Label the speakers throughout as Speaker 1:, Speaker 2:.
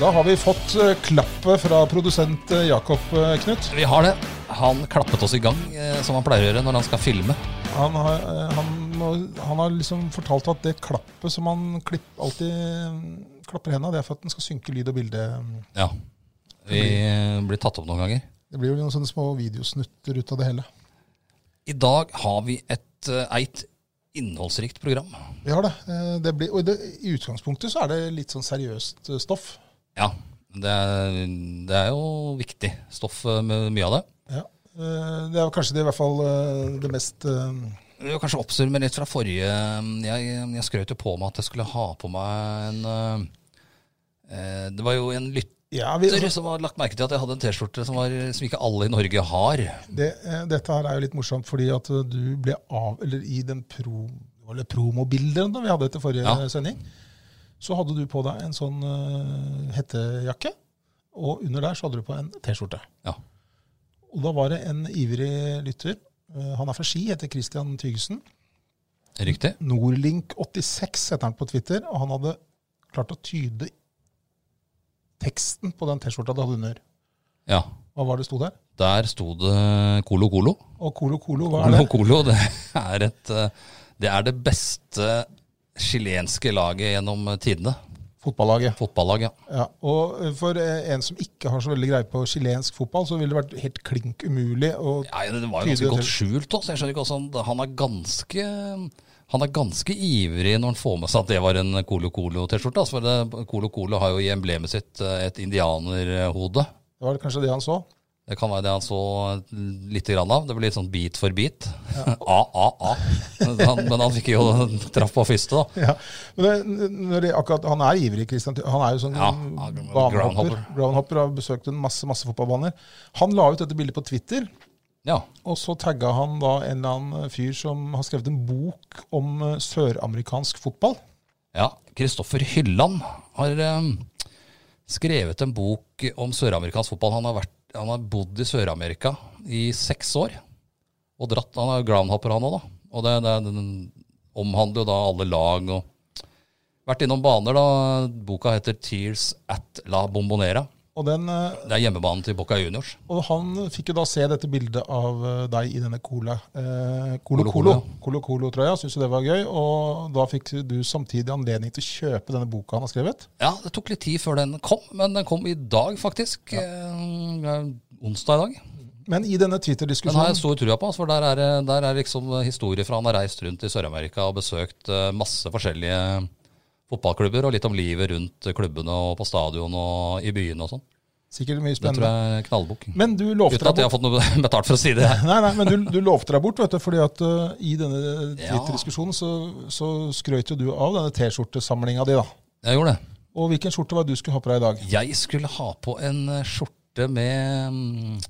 Speaker 1: Da har vi fått eh, klappet fra produsent eh, Jakob eh, Knut.
Speaker 2: Vi har det. Han klappet oss i gang, eh, som han pleier å gjøre når han skal filme.
Speaker 1: Han har, eh, han, må- han har liksom fortalt at det klappet som han klipp, alltid eh, klapper hendene, det er for at den skal synke lyd og bilde.
Speaker 2: Ja. Vi eh, blir tatt opp noen ganger.
Speaker 1: Det blir jo noen sånne små videosnutter ut av det hele.
Speaker 2: I dag har vi et eh, eit innholdsrikt program.
Speaker 1: Vi har det. Eh, det blir, og det, I utgangspunktet så er det litt sånn seriøst eh, stoff.
Speaker 2: Ja, det er, det er jo viktig stoff eh, med mye av det.
Speaker 1: Ja. Eh, Det er kanskje det, i hvert fall eh, det mest eh,
Speaker 2: Vi vil kanskje oppsummere litt fra forrige mm, Jeg, jeg skrøt jo på meg at jeg skulle ha på meg en eh, eh, Det var jo en lytter
Speaker 1: ja, vi,
Speaker 2: som hadde lagt merke til at jeg hadde en T-skjorte som, var- som ikke alle i Norge har.
Speaker 1: det, eh, Dette her er jo litt morsomt, fordi at eh, du ble av Eller i den pro, eller promobildet da vi hadde etter forrige
Speaker 2: Ja.
Speaker 1: sending, så hadde du på deg en sånn eh, hettejakke, og under der så hadde du på en T-skjorte.
Speaker 2: Ja.
Speaker 1: Og da var det en ivrig lytter. eh, Han er fra Ski, heter Christian Tygesen.
Speaker 2: Riktig.
Speaker 1: Norlink86 heter han på Twitter, og han hadde klart å tyde teksten på den T-skjorta du hadde under.
Speaker 2: Ja.
Speaker 1: Hva var det sto der?
Speaker 2: Der sto det Colo Colo.
Speaker 1: Og Colo Colo, hva er
Speaker 2: Colo
Speaker 1: det?
Speaker 2: Colo det er, et, eh, det er det beste chilenske laget gjennom eh, tidene.
Speaker 1: Fotballaget.
Speaker 2: Fotballag, ja.
Speaker 1: Ja, og eh, for eh, en som ikke har så veldig greie på chilensk fotball, så ville det vært helt klink umulig å
Speaker 2: Nei, det var jo ganske
Speaker 1: Tydelig
Speaker 2: godt skjult også. Jeg skjønner ikke også, han- han er ganske... Han er ganske ivrig når han får med seg at det var en Colo Colo-T-skjorte. Altså, for det- Colo Colo har jo i emblemet sitt eh, et indianerhode.
Speaker 1: Det var kanskje det han så.
Speaker 2: Det kan være det han så litt grann av. Det ble litt sånn bit for bit. A, A, A. Han, men han fikk jo traff på første, da.
Speaker 1: Ja. Men det, når det, akkurat, han er ivrig, Christian. Ty- Han er jo sånn
Speaker 2: Ja,
Speaker 1: banehopper.
Speaker 2: groundhopper.
Speaker 1: Groundhopper har besøkt en masse, masse fotballbaner. Han la ut dette bildet på Twitter.
Speaker 2: Ja.
Speaker 1: Og så tagga han da en eller annen fyr som har skrevet en bok om eh, søramerikansk fotball.
Speaker 2: Ja, Kristoffer Hylland har eh, skrevet en bok om søramerikansk fotball. Han har, vært, han har bodd i Sør-Amerika i seks år. Og dratt, Han er jo groundhopper, han òg, da. Og det, det den omhandler jo da alle lag og Vært innom baner, da. Boka heter 'Tears at la Bombonera'.
Speaker 1: Og, den, eh,
Speaker 2: Det er hjemmebanen til Boca Juniors.
Speaker 1: og han fikk jo da se dette bildet av eh, deg i denne cola. Eh, Colo
Speaker 2: Colo
Speaker 1: Colo.
Speaker 2: Colo.
Speaker 1: Colo Colo-trøya. Syns jo det var gøy. Og da fikk du samtidig anledning til å kjøpe denne boka han har skrevet.
Speaker 2: Ja, det tok litt tid før den kom, men den kom i dag, faktisk. Eh, det er onsdag i dag.
Speaker 1: Men i denne
Speaker 2: Den har jeg
Speaker 1: Twitter-diskusjonen
Speaker 2: stor trua på, altså, for der er, det- der er liksom historier fra han har reist rundt i Sør-Amerika og besøkt eh, masse forskjellige fotballklubber, og litt om livet rundt klubbene og på stadion og i byene og sånn.
Speaker 1: Sikkert mye
Speaker 2: Det tror
Speaker 1: spennende.
Speaker 2: jeg er knallbok.
Speaker 1: Men du lovte
Speaker 2: Uten at
Speaker 1: deg
Speaker 2: jeg har fått noe betalt for å si det. her.
Speaker 1: Nei, nei, men du, du lovte deg bort, vet du, fordi at eh, i denne
Speaker 2: Ja.
Speaker 1: Twitter-diskusjonen så, så skrøt jo du av denne T-skjortesamlinga di, da.
Speaker 2: Jeg gjorde det.
Speaker 1: Og hvilken skjorte var det du skulle ha på deg i dag?
Speaker 2: Jeg skulle ha på en eh, skjorte med mm,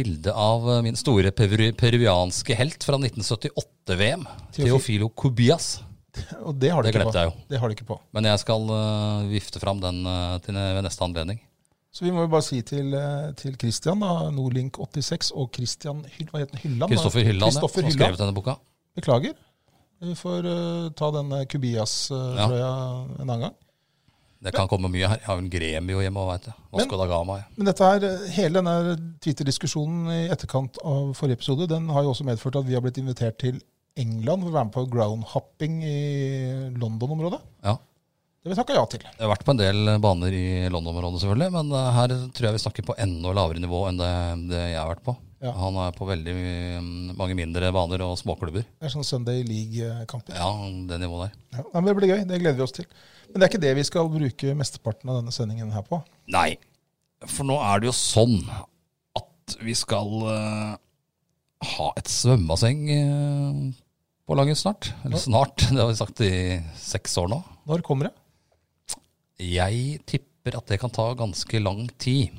Speaker 2: bilde av eh, min store peru peruanske helt fra 1978-VM, Teofilo Cubias.
Speaker 1: Og det har du
Speaker 2: Det
Speaker 1: ikke på.
Speaker 2: glemte jeg jo.
Speaker 1: Det har du ikke på.
Speaker 2: Men jeg skal eh, vifte fram den eh, til ne- ved neste anledning.
Speaker 1: Så vi må jo bare si til, eh, til Christian, da, Nordlink86 og Christian Hyll, hva heter han? Hylland? da?
Speaker 2: Kristoffer Hylland, ja,
Speaker 1: Kristoffer
Speaker 2: som har
Speaker 1: Hylland.
Speaker 2: skrevet denne boka.
Speaker 1: Beklager. Vi får eh, ta denne Kubias-trøya
Speaker 2: Ja.
Speaker 1: en annen gang.
Speaker 2: Det kan komme mye her. Jeg har jo en gremio hjemme, veit du. Vasco da Gama. Ja.
Speaker 1: Men dette her, eh, hele denne Twitter-diskusjonen i etterkant av forrige episode, den har jo også medført at vi har blitt invitert til England for å være med på groundhopping i London-området.
Speaker 2: ja.
Speaker 1: Det har vi takka ja til.
Speaker 2: Jeg har vært på en del baner i London-området, selvfølgelig. Men eh, her tror jeg vi snakker på enda lavere nivå enn det, det jeg har vært på.
Speaker 1: Ja.
Speaker 2: Han er på veldig mm, mange mindre baner og småklubber.
Speaker 1: Det er sånn Sunday League-kamper.
Speaker 2: Ja, det nivået der.
Speaker 1: Ja. Nei, men det blir gøy. Det gleder vi oss til. Men det er ikke det vi skal bruke mesteparten av denne sendingen her på.
Speaker 2: Nei, for nå er det jo sånn at vi skal eh, ha et svømmebasseng eh, på laget snart. Eller snart, det har vi sagt i seks år nå.
Speaker 1: Når kommer det?
Speaker 2: Jeg tipper tipper at det kan ta ganske lang tid.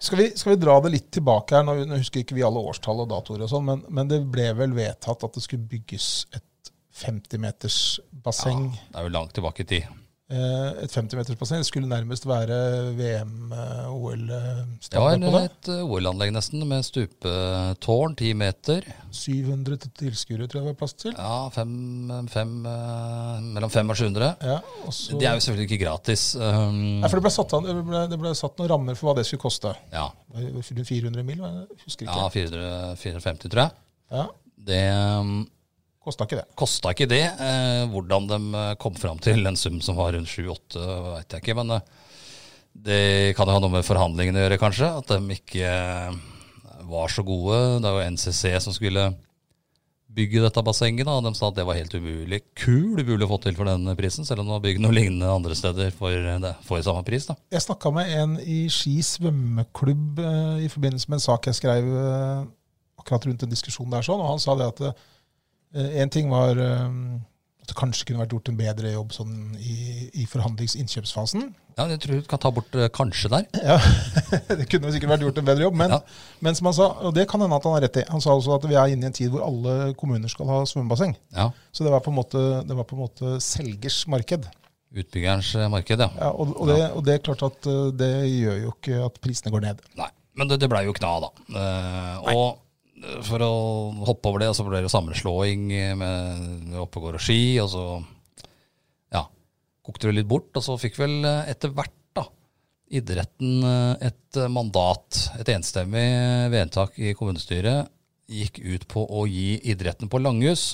Speaker 1: Skal vi, skal vi dra det litt tilbake her? Nå, nå husker ikke vi alle årstall og datoer, og sånn, men, men det ble vel vedtatt at det skulle bygges et 50-meters basseng.
Speaker 2: Det er jo langt tilbake i tid.
Speaker 1: Eh, Et 50-metersbasseng Det skulle nærmest være eh,
Speaker 2: Det var
Speaker 1: VM-OL-standard på det.
Speaker 2: et eh, OL-anlegg nesten, med stupetårn, ti meter.
Speaker 1: 700 til- tilskuere tror jeg det var plass til.
Speaker 2: Ja, fem, fem, eh, mellom fem og 700.
Speaker 1: Ja, og så,
Speaker 2: Det er jo selvfølgelig ikke gratis. Um,
Speaker 1: Nei, for det ble, satt, an- det, ble, det ble satt noen rammer for hva det skulle koste.
Speaker 2: ja,
Speaker 1: Det var 400 mil, var det? husker
Speaker 2: ja
Speaker 1: ikke.
Speaker 2: 400, 450, tror jeg.
Speaker 1: Ja,
Speaker 2: Det um,
Speaker 1: Kosta ikke det.
Speaker 2: kosta ikke det. Eh, hvordan de eh, kom fram til en sum som var rundt 7-8, veit jeg ikke. Men eh, det kan jo ha noe med forhandlingene å gjøre, kanskje. At de ikke eh, var så gode. Det var jo NCC som skulle bygge dette bassenget. da, og De sa at det var helt umulig. Kul umulig å få til for den prisen, selv om det var bygd noe lignende andre steder for, eh, det, for samme pris. da.
Speaker 1: Jeg snakka med en i Ski svømmeklubb eh, i forbindelse med en sak jeg skrev eh, akkurat rundt en diskusjon der, sånn, og han sa det at én ting var eh, at det kanskje kunne vært gjort en bedre jobb sånn, i, i forhandlingsinnkjøpsfasen.
Speaker 2: Ja, men Jeg tror du kan ta bort eh, kanskje der.
Speaker 1: Ja, Det kunne sikkert vært gjort en bedre jobb, men,
Speaker 2: Ja.
Speaker 1: men som han sa, og det kan hende at han har rett i, han sa også at vi er inne i en tid hvor alle kommuner skal ha svømmebasseng.
Speaker 2: Ja,
Speaker 1: Så det var på en måte, det var på en måte selgers marked.
Speaker 2: Utbyggerens eh, marked, ja.
Speaker 1: Ja, og, og, det, og det er klart at eh, det gjør jo ikke at prisene går ned.
Speaker 2: Nei, men det, det blei jo kna, da. Eh, og eh, for å hoppe over det, så ble det jo sammenslåing med Oppegård og Ski, og så ja, kokte det litt bort. Og så fikk vel eh, etter hvert da, idretten eh, et eh, mandat, et enstemmig vedtak i kommunestyret, gikk ut på å gi idretten på Langhus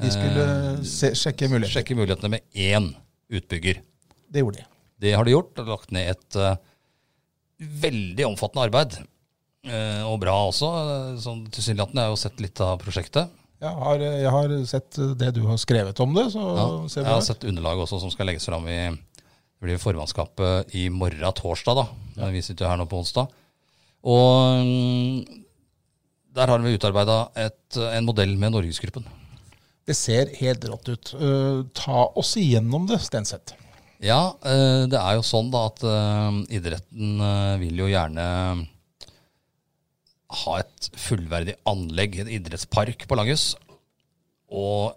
Speaker 1: De skulle se, sjekke muligheter.
Speaker 2: Eh, sjekke mulighetene med én utbygger.
Speaker 1: Det gjorde de.
Speaker 2: Det har de gjort. og Lagt ned et eh, veldig omfattende arbeid. Eh, og bra også. eh, Sånn tilsynelatende. Jeg har jo sett litt av prosjektet.
Speaker 1: Jeg har, eh, jeg har sett det du har skrevet om det, så
Speaker 2: Ja. altså.
Speaker 1: ser
Speaker 2: Jeg
Speaker 1: vi
Speaker 2: har
Speaker 1: det.
Speaker 2: sett underlaget også som skal legges fram i det blir formannskapet i morgen torsdag. da. Vi sitter jo her nå på onsdag. Og mm, der har vi utarbeida en modell med Norgesgruppen.
Speaker 1: Det ser helt rått ut. Eh, ta oss igjennom det, Stenseth.
Speaker 2: Ja, eh, det er jo sånn da at eh, idretten eh, vil jo gjerne eh, ha et fullverdig anlegg, en idrettspark på Langhus. Og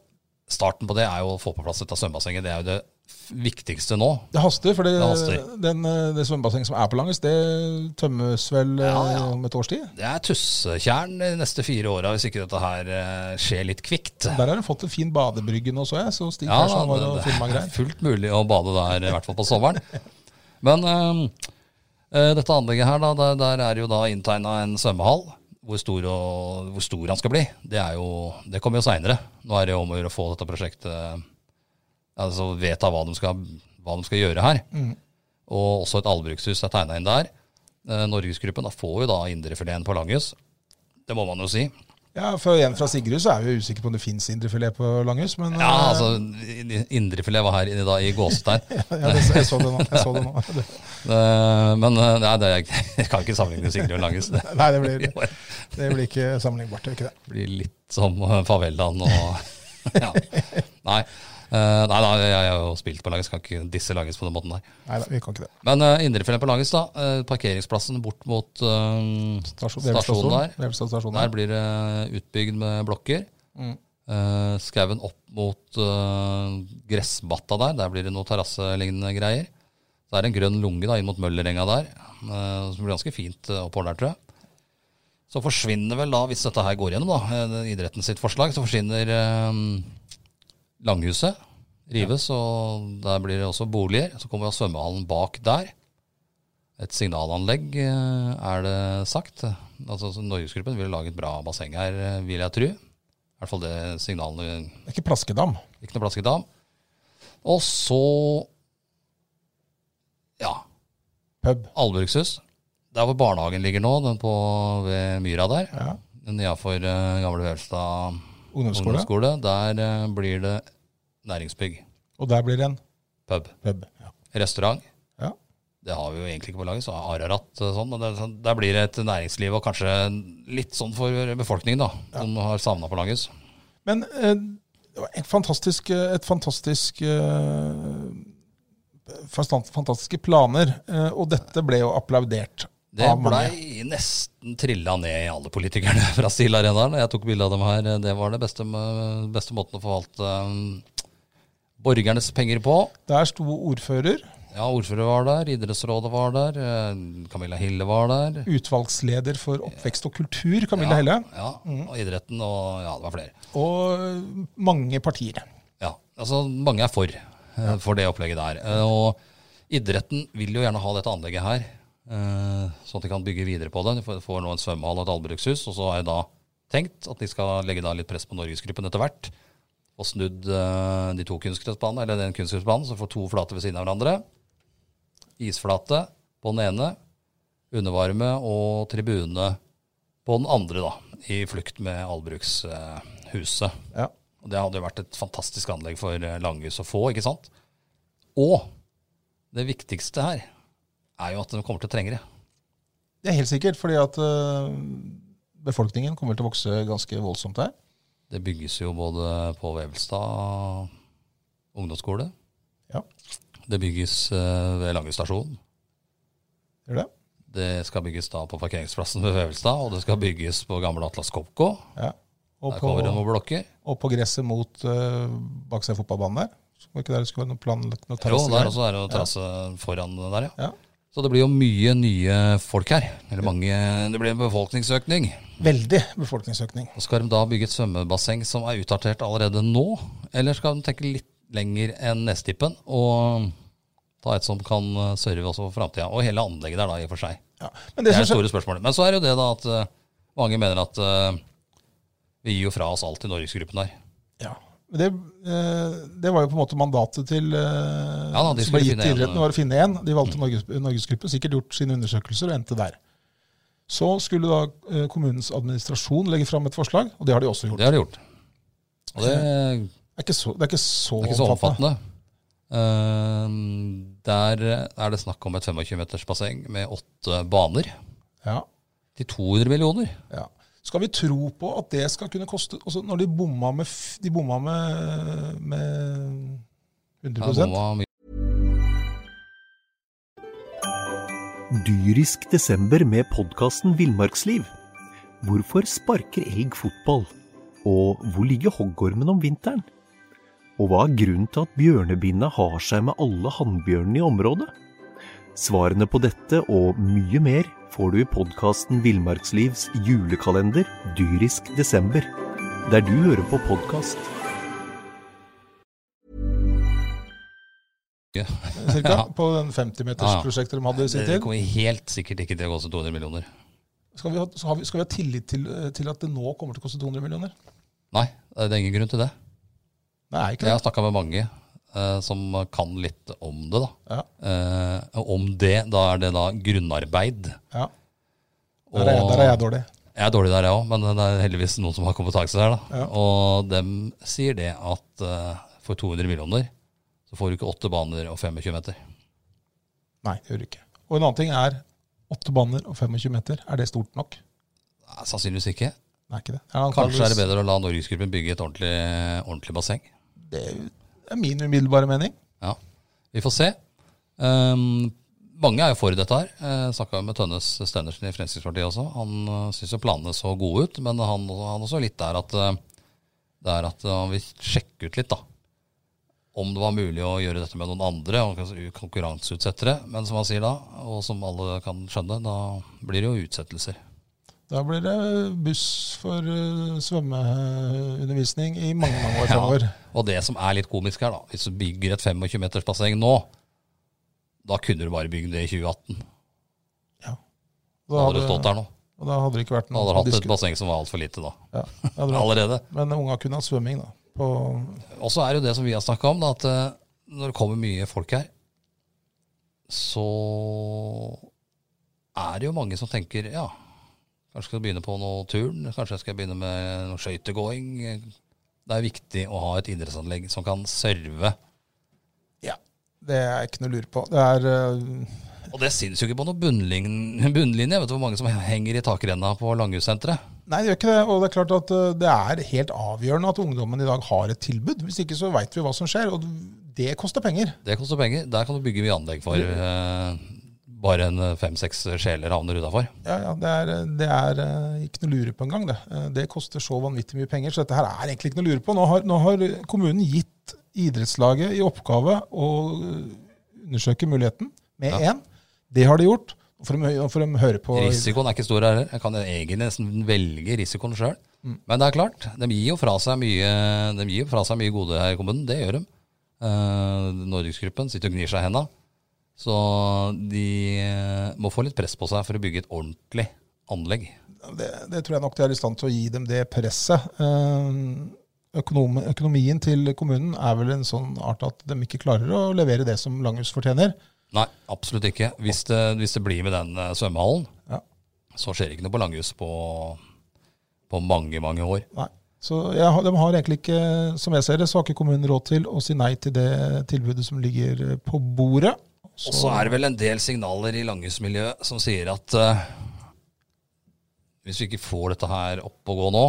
Speaker 2: starten på det er jo å få på plass dette svømmebassenget. Det er jo det f- viktigste nå.
Speaker 1: Det haster, for det,
Speaker 2: Det haster.
Speaker 1: Den, eh, det svømmebassenget som er på Langes, det tømmes vel eh,
Speaker 2: Ja, ja.
Speaker 1: om et års tid?
Speaker 2: Det er tussetjern de neste fire åra hvis ikke dette her eh, skjer litt kvikt.
Speaker 1: Der har de fått en fin badebrygge nå, så jeg. Så Stig
Speaker 2: Ja,
Speaker 1: Persson var
Speaker 2: det-
Speaker 1: og
Speaker 2: det
Speaker 1: filma
Speaker 2: er
Speaker 1: greier.
Speaker 2: fullt mulig å bade der, i hvert fall på sommeren. Men øhm, øh, dette anlegget her, da, der, der er jo da inntegna en svømmehall. Hvor stor, og, hvor stor han skal bli, det, er jo, det kommer jo seinere. Nå er det jo om å gjøre å få dette prosjektet altså vedta hva de skal, hva de skal gjøre her. Og også et allbrukshus er tegna inn der. Eh, Norgesgruppen da får jo da indrefileten på Langhus. Det må man jo si.
Speaker 1: Ja, for en fra Sigrud så er vi jo usikre på om det fins indrefilet på Langhus, men
Speaker 2: Ja,
Speaker 1: eh,
Speaker 2: altså, Indrefilet var her inne da i gåsetegn.
Speaker 1: ja, det, jeg så det nå. Jeg så det nå. Det,
Speaker 2: Eh, Men eh, nei, det, jeg kan ikke sammenligne Sigrid og Langes. Det
Speaker 1: nei, det blir, det blir ikke sammenlignbart. Det er ikke det.
Speaker 2: blir litt som eh, favelaen og ja. Nei. Eh, nei, nei, jeg har jo spilt på Langes, kan ikke disse Langes på den måten der.
Speaker 1: Nei da, vi kan ikke det.
Speaker 2: Men uh, indrefileten på Langes, da. eh, parkeringsplassen bort mot eh,
Speaker 1: Stasjon,
Speaker 2: stasjonen der.
Speaker 1: Vevelstad stasjon
Speaker 2: Der
Speaker 1: der.
Speaker 2: blir det utbygd med blokker.
Speaker 1: Mm.
Speaker 2: Eh, Skauen opp mot eh, gressbatta der, der blir det noe terrasselignende greier. Så er det en grønn lunge da, inn mot Møllerenga der, eh, som blir ganske fint eh, oppover der, tror jeg. Så forsvinner vel da, hvis dette her går gjennom, da, eh, idretten sitt forslag, så forsvinner eh, Langhuset. Rives, og der blir det også boliger. Så kommer jo svømmehallen bak der. Et signalanlegg, eh, er det sagt. Altså, så Norgesgruppen vil lage et bra basseng her, eh, vil jeg tro. I hvert fall det signalene
Speaker 1: Det er ikke plaskedam.
Speaker 2: Ikke noe plaskedam. Og så ja,
Speaker 1: Pub.
Speaker 2: Albrukshus. Der hvor barnehagen ligger nå, den på ved Myra der.
Speaker 1: Ja.
Speaker 2: Nedafor eh, gamle Vevelstad
Speaker 1: Ungdomsskole.
Speaker 2: ungdomsskole. Der eh, blir det næringsbygg.
Speaker 1: Og der blir det en
Speaker 2: Pub.
Speaker 1: pub. Ja.
Speaker 2: Restaurant.
Speaker 1: Ja.
Speaker 2: Det har vi jo egentlig ikke på laget, så Ararat eh, sånn. men det er sånn- Der blir det et næringsliv og kanskje litt sånn for befolkningen, da. Som har savna på laget.
Speaker 1: Men eh, det var en fantastisk, eh, et fantastisk eh, fastan- fantastiske planer. eh, Og dette ble jo applaudert
Speaker 2: Det
Speaker 1: av mange.
Speaker 2: blei nesten trilla ned i alle politikerne fra Steel Arena. Jeg tok bilde av dem her. Det var det beste, beste måten å forvalte um, borgernes penger på.
Speaker 1: Der sto ordfører,
Speaker 2: Ja, ordfører var der, idrettsrådet var der, eh, Camilla Hille var der.
Speaker 1: utvalgsleder for oppvekst og kultur, Camilla
Speaker 2: ja,
Speaker 1: Helle,
Speaker 2: Ja,
Speaker 1: Mm.
Speaker 2: og idretten og ja, det var flere.
Speaker 1: og mange partier.
Speaker 2: Ja, altså mange er for, eh, for det opplegget der. Eh, Og idretten vil jo gjerne ha dette anlegget her, eh, sånn at de kan bygge videre på det. De får- får nå en svømmehall og et allbrukshus, og så er det da tenkt at de skal legge da litt press på Norgesgruppen etter hvert. Og snudd eh, de to kunstgressbanene, eller den kunstgressbanen, så får to flater ved siden av hverandre. Isflate på den ene, undervarme og tribune på den andre, da, i flukt med allbrukshuset.
Speaker 1: Ja.
Speaker 2: Og det hadde jo vært et fantastisk anlegg for eh, Langhus å få, ikke sant? Og det viktigste her er jo at de kommer til å trenge det.
Speaker 1: Det er helt sikkert, fordi at eh, befolkningen kommer til å vokse ganske voldsomt her.
Speaker 2: Det bygges jo både på Vevelstad ungdomsskole,
Speaker 1: Ja,
Speaker 2: det bygges eh, ved Langhus stasjon,
Speaker 1: gjør det?
Speaker 2: det skal bygges da på parkeringsplassen ved Vevelstad, og det skal bygges på gamle Atlas Copco.
Speaker 1: Ja. Og,
Speaker 2: Der
Speaker 1: på,
Speaker 2: kommer det noen blokker.
Speaker 1: og på gresset mot eh, bak seg fotballbanen der. Så var ikke der det skulle være noe planlagt noe
Speaker 2: Jo, der
Speaker 1: terrassegreier?
Speaker 2: også er det jo terrasse foran der, ja.
Speaker 1: Ja.
Speaker 2: Så det blir jo mye nye folk her. Eller mange Det blir en befolkningsøkning.
Speaker 1: Veldig befolkningsøkning.
Speaker 2: Og Skal de da bygge et svømmebasseng som er utdatert allerede nå, eller skal de tenke litt lenger enn nestippen og ta et som kan eh, serve også for framtida? Og hele anlegget der, da, i og for seg.
Speaker 1: Ja. Men
Speaker 2: Det
Speaker 1: det
Speaker 2: er det
Speaker 1: som skje-
Speaker 2: store spørsmålet. Men så er det jo det, da, at eh, mange mener at eh, vi gir jo fra oss alt til Norgesgruppen der.
Speaker 1: ja. Men det, eh, det var jo på en måte mandatet til eh,
Speaker 2: Ja da, de
Speaker 1: som ble gitt
Speaker 2: skulle finne
Speaker 1: til
Speaker 2: en- eh,
Speaker 1: idretten, var å finne en. De valgte Norges, Norgesgruppen, sikkert gjort sine undersøkelser og endte der. Så skulle da eh, kommunens administrasjon legge fram et forslag, og det har de også gjort.
Speaker 2: Det har de gjort. Og det er
Speaker 1: Det er ikke så, det er ikke så,
Speaker 2: ikke så omfattende. Eh, der er det snakk om et 25 meters basseng med åtte baner
Speaker 1: Ja,
Speaker 2: til 200 millioner.
Speaker 1: ja. Skal vi tro på at det skal kunne koste altså Når de bomma med, f- de bomma med, med 100
Speaker 2: Her bomma mye.
Speaker 3: Dyrisk desember med podkasten Villmarksliv. Hvorfor sparker elg fotball? Og hvor ligger hoggormen om vinteren? Og hva er grunnen til at bjørnebinna har seg med alle hannbjørnene i området? Svarene på dette og mye mer får du i podkasten Villmarkslivs julekalender dyrisk desember, der du hører på podkast.
Speaker 1: cirka,
Speaker 2: Ja.
Speaker 1: på den 50-metersprosjektet de hadde i sin
Speaker 2: Det
Speaker 1: tid.
Speaker 2: kommer helt sikkert ikke til å koste 200 millioner.
Speaker 1: Skal vi ha, så har vi, skal vi ha tillit til, eh, til at det nå kommer til å koste 200 millioner?
Speaker 2: Nei, det er ingen grunn til det.
Speaker 1: Nei, ikke
Speaker 2: Jeg
Speaker 1: det.
Speaker 2: har snakka med mange eh, som kan litt om det. da.
Speaker 1: Ja.
Speaker 2: Eh, og om det, da er det da grunnarbeid.
Speaker 1: Ja.
Speaker 2: Og
Speaker 1: Der, er jeg, der er jeg dårlig.
Speaker 2: Jeg er dårlig der, jeg òg, men det er heldigvis noen som har kompetanse der. da.
Speaker 1: Ja.
Speaker 2: Og dem sier det at eh, for 200 millioner så får du ikke åtte baner og 25 meter.
Speaker 1: Nei, det gjør du ikke. Og en annen ting er åtte baner og 25 meter. Er det stort nok?
Speaker 2: Nei, Sannsynligvis ikke.
Speaker 1: Nei, ikke det. Ja,
Speaker 2: Kanskje er det
Speaker 1: antageligvis-
Speaker 2: bedre å la Norgesgruppen bygge et ordentlig, ordentlig basseng.
Speaker 1: Det er min umiddelbare mening.
Speaker 2: Ja, vi får se. Ehm, mange er jo for dette her. Uh, Snakka jo med Tønnes Stenersen i Fremskrittspartiet også. Han uh, syns jo planene så gode ut, men han, han også litt der at eh, det er at han vil sjekke ut litt, da. Om det var mulig å gjøre dette med noen andre, og kanskje konkurranseutsettere. Men som han sier da, og som alle kan skjønne, da blir det jo utsettelser.
Speaker 1: Da blir det buss for eh, svømmeundervisning i mange mange år
Speaker 2: Ja.
Speaker 1: framover.
Speaker 2: Og det som er litt komisk her, da, hvis du bygger et 25 meters basseng nå, da kunne du bare bygd det i 2018. Da hadde du stått der nå.
Speaker 1: Og da hadde det ikke vært
Speaker 2: Da
Speaker 1: noen som
Speaker 2: hadde du hatt et
Speaker 1: disku-
Speaker 2: basseng som var altfor lite, da.
Speaker 1: ja, det hadde vært-
Speaker 2: Allerede.
Speaker 1: Men unga kunne hatt svømming, da. På,
Speaker 2: Og så er det jo det som vi har snakka om, da, at eh, når det kommer mye folk her, så er det jo mange som tenker ja, kanskje skal jeg begynne på noe turn, kanskje jeg skal begynne med noe skøytegåing. Det er viktig å ha et idrettsanlegg som kan serve.
Speaker 1: det er ikke noe å lure på. Det er eh,
Speaker 2: Og det syns jo ikke på noen bunnlinje. bunnlinje. Vet du hvor mange som henger i takrenna på Langhussenteret?
Speaker 1: Nei, det gjør ikke det. Og det er klart at eh, det er helt avgjørende at ungdommen i dag har et tilbud. Hvis ikke så veit vi hva som skjer. Og Det koster penger.
Speaker 2: Det koster penger. Der kan du bygge mye anlegg for eh, bare en eh, fem-seks sjeler havner utafor.
Speaker 1: Ja, ja, det er, det er eh, ikke noe å lure på engang. Det Eh, Det koster så vanvittig mye penger, så dette her er egentlig ikke noe å lure på. Nå har, nå har kommunen gitt idrettslaget i oppgave å eh, undersøke muligheten med én. Det har de gjort. Og får de, og får de høre på
Speaker 2: Risikoen er ikke stor her. Jeg kan egentlig nesten velge risikoen sjøl.
Speaker 1: Mm.
Speaker 2: Men det er klart, de gir jo fra seg mye, de gir jo fra seg mye gode her i kommunen. Det gjør de. Eh, Nordicsgruppen sitter og gnir seg i henda. Så de eh, må få litt press på seg for å bygge et ordentlig anlegg.
Speaker 1: det, det tror jeg nok de er i stand til å gi dem det presset. Eh, Økonom, økonomien til kommunen er vel en sånn art at de ikke klarer å levere det som Langhus fortjener.
Speaker 2: Nei, absolutt ikke. Hvis det, hvis det blir med den eh, svømmehallen,
Speaker 1: Ja.
Speaker 2: så skjer det ikke noe på Langhus på, på mange, mange år.
Speaker 1: Nei. Så jeg, har- de har egentlig ikke, som jeg ser det, så har ikke kommunen råd til å si nei til det tilbudet som ligger på bordet. Så,
Speaker 2: Og så er det vel en del signaler i langhusmiljøet som sier at eh, hvis vi ikke får dette her opp og gå nå,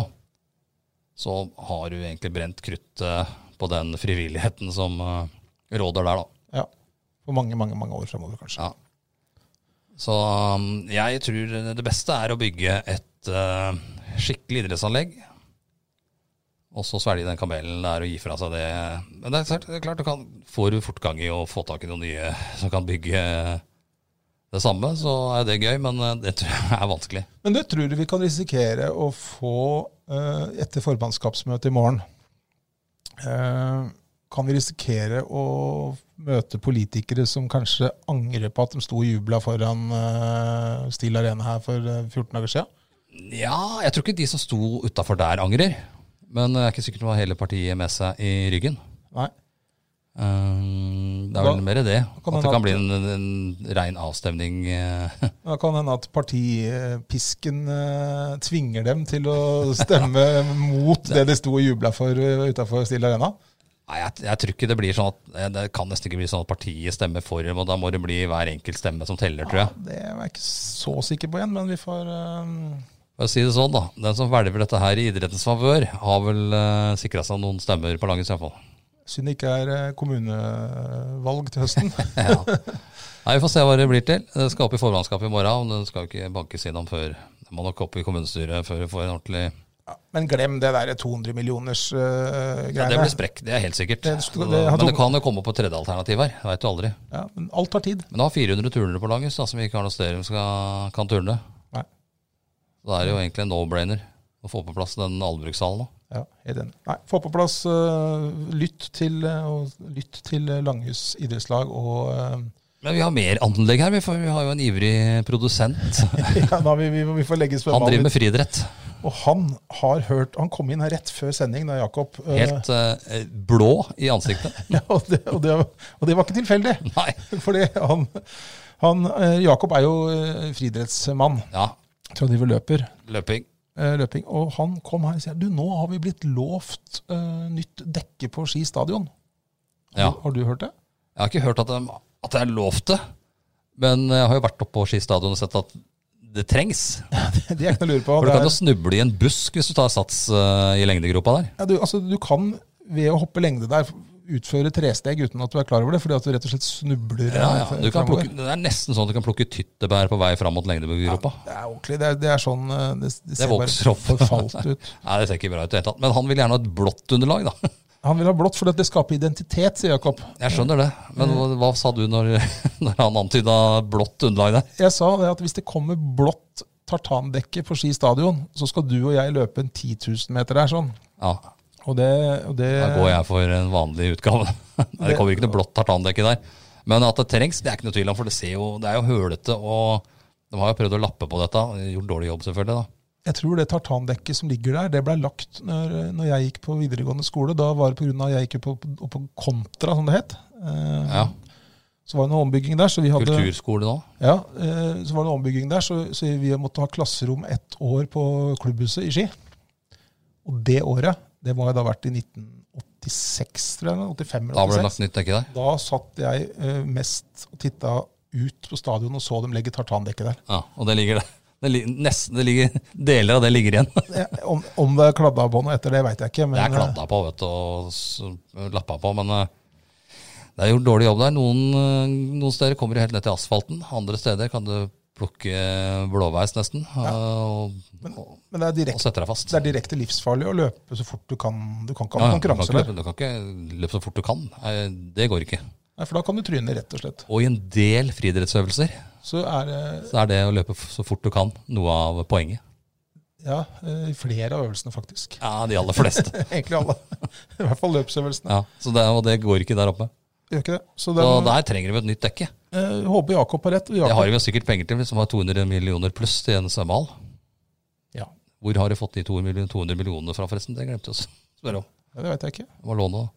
Speaker 2: så har du egentlig brent kruttet på den frivilligheten som eh, råder der, da.
Speaker 1: ja, for mange, mange mange år fremover, kanskje.
Speaker 2: Ja. Så um, jeg tror det beste er å bygge et eh, skikkelig idrettsanlegg. Og så svelge den kamelen der og gi fra seg det. Men det er klart, det er klart du kan, får du fortgang i å få tak i noen nye som kan bygge det samme, så er det gøy. Men eh, det tror jeg er vanskelig.
Speaker 1: Men det tror du vi kan risikere å få eh, etter formannskapsmøtet i morgen. Eh, kan vi risikere å møte politikere som kanskje angrer på at de sto og jubla foran eh, Steel Arena her for eh, 14 dager siden?
Speaker 2: Ja, jeg tror ikke de som sto utafor der, angrer. Men det er ikke sikkert de har hele partiet med seg i ryggen.
Speaker 1: Nei.
Speaker 2: Um, det er
Speaker 1: Da-
Speaker 2: vel mer det.
Speaker 1: kan det
Speaker 2: At det
Speaker 1: være
Speaker 2: kan bli en, en, en rein avstemning. eh,
Speaker 1: Da kan hende at partipisken eh, tvinger dem til å stemme mot det de sto og jubla for uh, utafor Steel Arena.
Speaker 2: Nei, jeg, jeg tror ikke det blir sånn at eh, Det kan nesten ikke bli sånn at partiet stemmer for dem, og da må det bli hver enkelt stemme som teller, tror jeg.
Speaker 1: Det er jeg ikke så sikker på igjen, men vi får eh,
Speaker 2: For å si det sånn, da. Den som velger dette her i idrettens favør, har vel uh, sikra seg noen stemmer på Langhus, iallfall.
Speaker 1: Synd det ikke er eh, kommunevalg til høsten.
Speaker 2: Ja. Nei, vi får se hva det blir til. Det skal opp i formannskapet i morgen, og det skal jo ikke bankes innom før Det må nok opp i kommunestyret før vi får en ordentlig
Speaker 1: Men glem det der 200 millioners eh,
Speaker 2: ja, Det
Speaker 1: greiene.
Speaker 2: blir sprekk, det er helt sikkert.
Speaker 1: Det- det- det-
Speaker 2: Men det kan jo komme opp på tredje alternativ her. Jeg Veit jo aldri.
Speaker 1: Ja, men alt tar tid.
Speaker 2: Men da har 400 turnere på Langhus da, som vi ikke har noe sted de skal- kan turne.
Speaker 1: Nei.
Speaker 2: Så da er det jo egentlig en no-brainer å få på plass den allbrukshallen. da.
Speaker 1: Ja, helt enig. Nei, få på plass eh, lytt til, eh, og lytt til eh, Langhus idrettslag og eh,
Speaker 2: Men vi har mer anlegg her, vi, for vi har jo en ivrig produsent.
Speaker 1: ja, da vi, vi, vi får legge
Speaker 2: Han driver
Speaker 1: svømmehallen
Speaker 2: med friidrett.
Speaker 1: Og han har hørt Han kom inn her rett før sending, da, Jakob. eh,
Speaker 2: Helt eh, blå i ansiktet.
Speaker 1: ja, og, det, og, det, og det var ikke tilfeldig.
Speaker 2: Nei.
Speaker 1: Fordi han, han eh, Jakob er jo eh, friidrettsmann.
Speaker 2: Ja,
Speaker 1: Tradiver løper.
Speaker 2: løping.
Speaker 1: eh, løping. Og han kom her og sier du, nå har vi blitt lovt eh, nytt dekke på Ski stadion.
Speaker 2: Ja.
Speaker 1: Har, har du hørt det?
Speaker 2: Jeg har ikke hørt at, de, at det er lov til, men jeg har jo vært oppe på Ski stadion og sett at det trengs.
Speaker 1: Det er ikke noe å lure på.
Speaker 2: For du
Speaker 1: Det
Speaker 2: kan jo
Speaker 1: er,
Speaker 2: snuble i en busk hvis du tar sats eh, i lengdegropa der.
Speaker 1: ja, du, altså, du kan ved å hoppe lengde der utføre tresteg uten at du er klar over det, fordi at du rett og slett snubler.
Speaker 2: Ja, ja.
Speaker 1: eh,
Speaker 2: Du kan
Speaker 1: fremover.
Speaker 2: plukke, det er nesten sånn at du kan plukke tyttebær på vei fram mot lengdegropa.
Speaker 1: Det er ordentlig. Det er, det er sånn eh, Det, det ser
Speaker 2: vokser
Speaker 1: bare
Speaker 2: opp.
Speaker 1: forfalt ut.
Speaker 2: Nei, det ser ikke bra ut i det hele tatt. Men han vil gjerne ha et blått underlag, da.
Speaker 1: Han vil ha blått fordi at det skaper identitet, sier Jakob.
Speaker 2: Jeg skjønner det, men hva, hva sa du når, når han antyda blått underlag der?
Speaker 1: Jeg sa det at hvis det kommer blått tartandekke på Ski stadion, så skal du og jeg løpe en 10 000 meter der, sånn.
Speaker 2: Ja,
Speaker 1: Og det, og det
Speaker 2: Da går jeg for en vanlig utgave. Nei, Det kommer ikke noe blått tartandekke der. Men at det trengs, det er ikke noe tvil om, for det, ser jo, det er jo hølete. Og de har jo prøvd å lappe på dette. Gjort dårlig jobb, selvfølgelig. da.
Speaker 1: Jeg tror det tartandekket som ligger der, det ble lagt når, når jeg gikk på videregående skole. Da var det pga. jeg gikk jo på, på, på kontra, som det het. Eh,
Speaker 2: Ja,
Speaker 1: Så var det noe ombygging der. Så vi hadde,
Speaker 2: Kulturskole nå.
Speaker 1: Ja, eh, så var det noe ombygging der, så, så vi måtte ha klasserom ett år på klubbhuset i Ski. Og det året, det må jo da ha vært i 1986, tror jeg. eller 85
Speaker 2: Da ble
Speaker 1: eller
Speaker 2: det lagt
Speaker 1: 86.
Speaker 2: nytt dekke der.
Speaker 1: Da satt jeg eh, mest og titta ut på stadion og så dem legge tartandekket der.
Speaker 2: Ja, Og det ligger der. Det, li- nesten, det ligger, deler av det ligger igjen. Det
Speaker 1: Eh, Om, om det er kladda på noe etter det, veit jeg ikke. Men,
Speaker 2: er kladda på vet du, og s- lappa på, men eh, Det er gjort dårlig jobb der. Noen, eh, noen steder kommer du helt ned til asfalten. Andre steder kan du plukke blåveis nesten eh, og, og,
Speaker 1: Men det er
Speaker 2: og
Speaker 1: direkte,
Speaker 2: sette deg fast.
Speaker 1: det er direkte livsfarlig å løpe så fort du kan. Du kan ikke
Speaker 2: Ja,
Speaker 1: ha
Speaker 2: ja, du, kan
Speaker 1: konkurranse
Speaker 2: ikke
Speaker 1: der.
Speaker 2: løpe, du kan ikke løpe så fort du kan. Eh, Det går ikke.
Speaker 1: Nei, for da kan du tryne, rett og slett.
Speaker 2: Og i en del friidrettsøvelser
Speaker 1: Så er det
Speaker 2: så er det å løpe f- så fort du kan noe av poenget.
Speaker 1: ja, eh, flere av øvelsene, faktisk.
Speaker 2: Ja, de aller fleste.
Speaker 1: Egentlig alle. I hvert fall løpsøvelsene.
Speaker 2: Ja, så det, og det går ikke der oppe.
Speaker 1: Gjør ikke det. Så
Speaker 2: Så
Speaker 1: den,
Speaker 2: der trenger de et nytt dekke.
Speaker 1: eh, håper Jakob har rett. og
Speaker 2: Det
Speaker 1: Jakob,
Speaker 2: har de jo sikkert penger til, som har 200 millioner pluss til en svømmehall.
Speaker 1: Ja.
Speaker 2: Hvor har de fått de 200 millionene, 200 millionene fra, forresten? Det glemte jeg å spørre om.
Speaker 1: Ja, det veit jeg ikke.
Speaker 2: Det var lånet.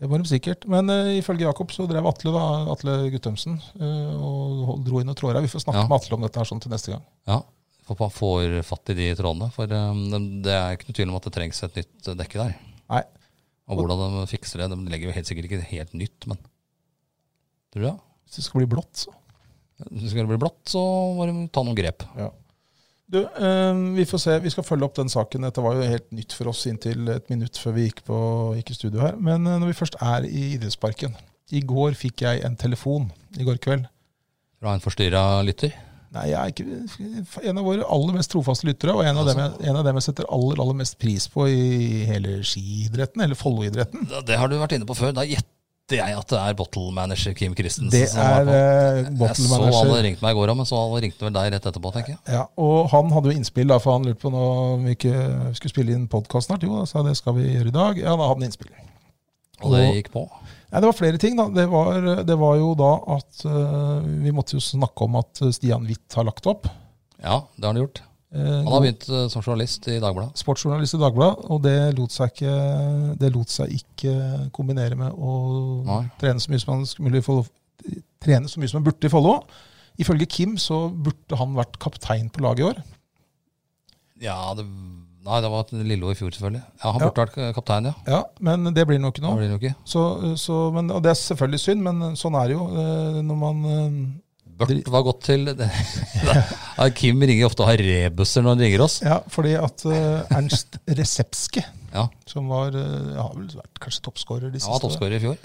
Speaker 1: Det var de sikkert. Men eh, ifølge Jakob så drev Atle da, Atle Guttormsen eh, og hold- dro inn og tråra. Vi får snakke
Speaker 2: Ja.
Speaker 1: med Atle om dette her sånn til neste gang.
Speaker 2: Ja, for man får fatt i de trådene. For um, det er ikke noe tvil om at det trengs et nytt uh, dekke der.
Speaker 1: Nei.
Speaker 2: Og hvordan de fikser det. De legger jo helt sikkert ikke helt nytt, men Tror du det?
Speaker 1: Hvis det skal bli blått, så.
Speaker 2: Skal det bli blått, så må de ta noen grep.
Speaker 1: Du, eh, vi får se. Vi skal følge opp den saken. Dette var jo helt nytt for oss inntil et minutt før vi gikk, på, gikk i studio her. Men eh, når vi først er i idrettsparken I går fikk jeg en telefon. I går kveld.
Speaker 2: Fra en forstyrra lytter.
Speaker 1: Nei, jeg er ikke en av våre aller mest trofaste lyttere, og en av, dem
Speaker 2: altså.
Speaker 1: jeg, en av dem jeg setter aller, aller mest pris på i hele skiidretten, eller Follo-idretten.
Speaker 2: Det, det har du vært inne på før. Da gjetter jeg at det er bottle manager Kim Christensen.
Speaker 1: Det
Speaker 2: som
Speaker 1: er
Speaker 2: på.
Speaker 1: eh,
Speaker 2: Jeg
Speaker 1: bottle
Speaker 2: så han hadde
Speaker 1: manager.
Speaker 2: ringt meg i går, ja, men så han ringte vel deg rett etterpå, tenker jeg.
Speaker 1: Ja, og han hadde jo innspill, da, for han lurte på nå om vi ikke skulle spille inn podkast snart. Jo, da sa jeg det skal vi gjøre i dag. Ja, da hadde han innspill.
Speaker 2: Og det
Speaker 1: Og-
Speaker 2: gikk på.
Speaker 1: Nei, det var flere ting, da. Det var, det var jo da at eh, vi måtte jo snakke om at Stian Hvitt har lagt opp.
Speaker 2: Ja, det har han gjort.
Speaker 1: Eh,
Speaker 2: Han har begynt eh, som journalist i Dagbladet.
Speaker 1: sportsjournalist i Dagbladet, og det lot seg ikke, det lot seg ikke kombinere med å
Speaker 2: Nei.
Speaker 1: trene så mye som han sk- mulig i Follo. Trene så mye som han burde i Follo. Ifølge Kim så burde han vært kaptein på laget i år.
Speaker 2: Ja, det, nei, det var et lille år i fjor, selvfølgelig. Ja, Han
Speaker 1: Ja.
Speaker 2: burde vært kaptein, ja.
Speaker 1: Ja, Men det blir han jo ikke
Speaker 2: Det
Speaker 1: nå.
Speaker 2: blir det jo ikke.
Speaker 1: Så, så, men, og det er selvfølgelig synd, men sånn er det jo eh, når man eh,
Speaker 2: Børt var godt til det. Ja, Kim ringer ofte og har rebuser når han ringer oss.
Speaker 1: Ja, fordi at eh, Ernst Resepske,
Speaker 2: Ja,
Speaker 1: som var eh, ja, har vel vært kanskje toppskårer de
Speaker 2: Han var
Speaker 1: siste
Speaker 2: toppskårer i fjor.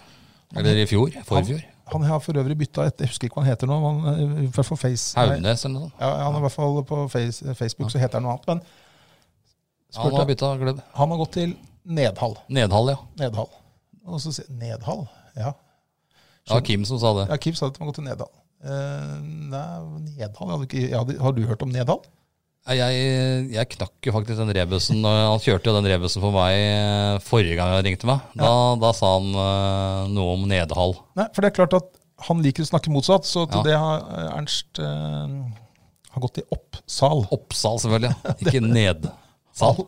Speaker 2: Eller i fjor. Forfjor.
Speaker 1: Han har for øvrig bytta et Jeg husker ikke hva han heter nå. men Han, eh, i hvert fall face, nei,
Speaker 2: Haugnes eller noe sånt.
Speaker 1: Ja, han er i hvert fall på face, Facebook, så heter han noe annet. Men
Speaker 2: Ja, han har
Speaker 1: spurte,
Speaker 2: bytta klubb.
Speaker 1: han har gått til Nedhall.
Speaker 2: Nedhall, ja.
Speaker 1: Nedhall. Og så sier Nedhall? Ja.
Speaker 2: Det var Kim som sa det.
Speaker 1: ja, Kim sa at han har gått til Nedhall. Eh, nei, Nedhall hadde ikke, ja, de- Har du hørt om Nedhall?
Speaker 2: Nei, Jeg, jeg knakk jo faktisk den rebusen. og Han kjørte jo den rebusen for meg eh, forrige gang han ringte meg. Da, da sa han eh, noe om Nedhall.
Speaker 1: Nei, for det er klart at han liker å snakke motsatt, så til
Speaker 2: Ja.
Speaker 1: det har eh, Ernst eh, har gått til Oppsal.
Speaker 2: Oppsal, selvfølgelig. ja. Ikke Nedsal.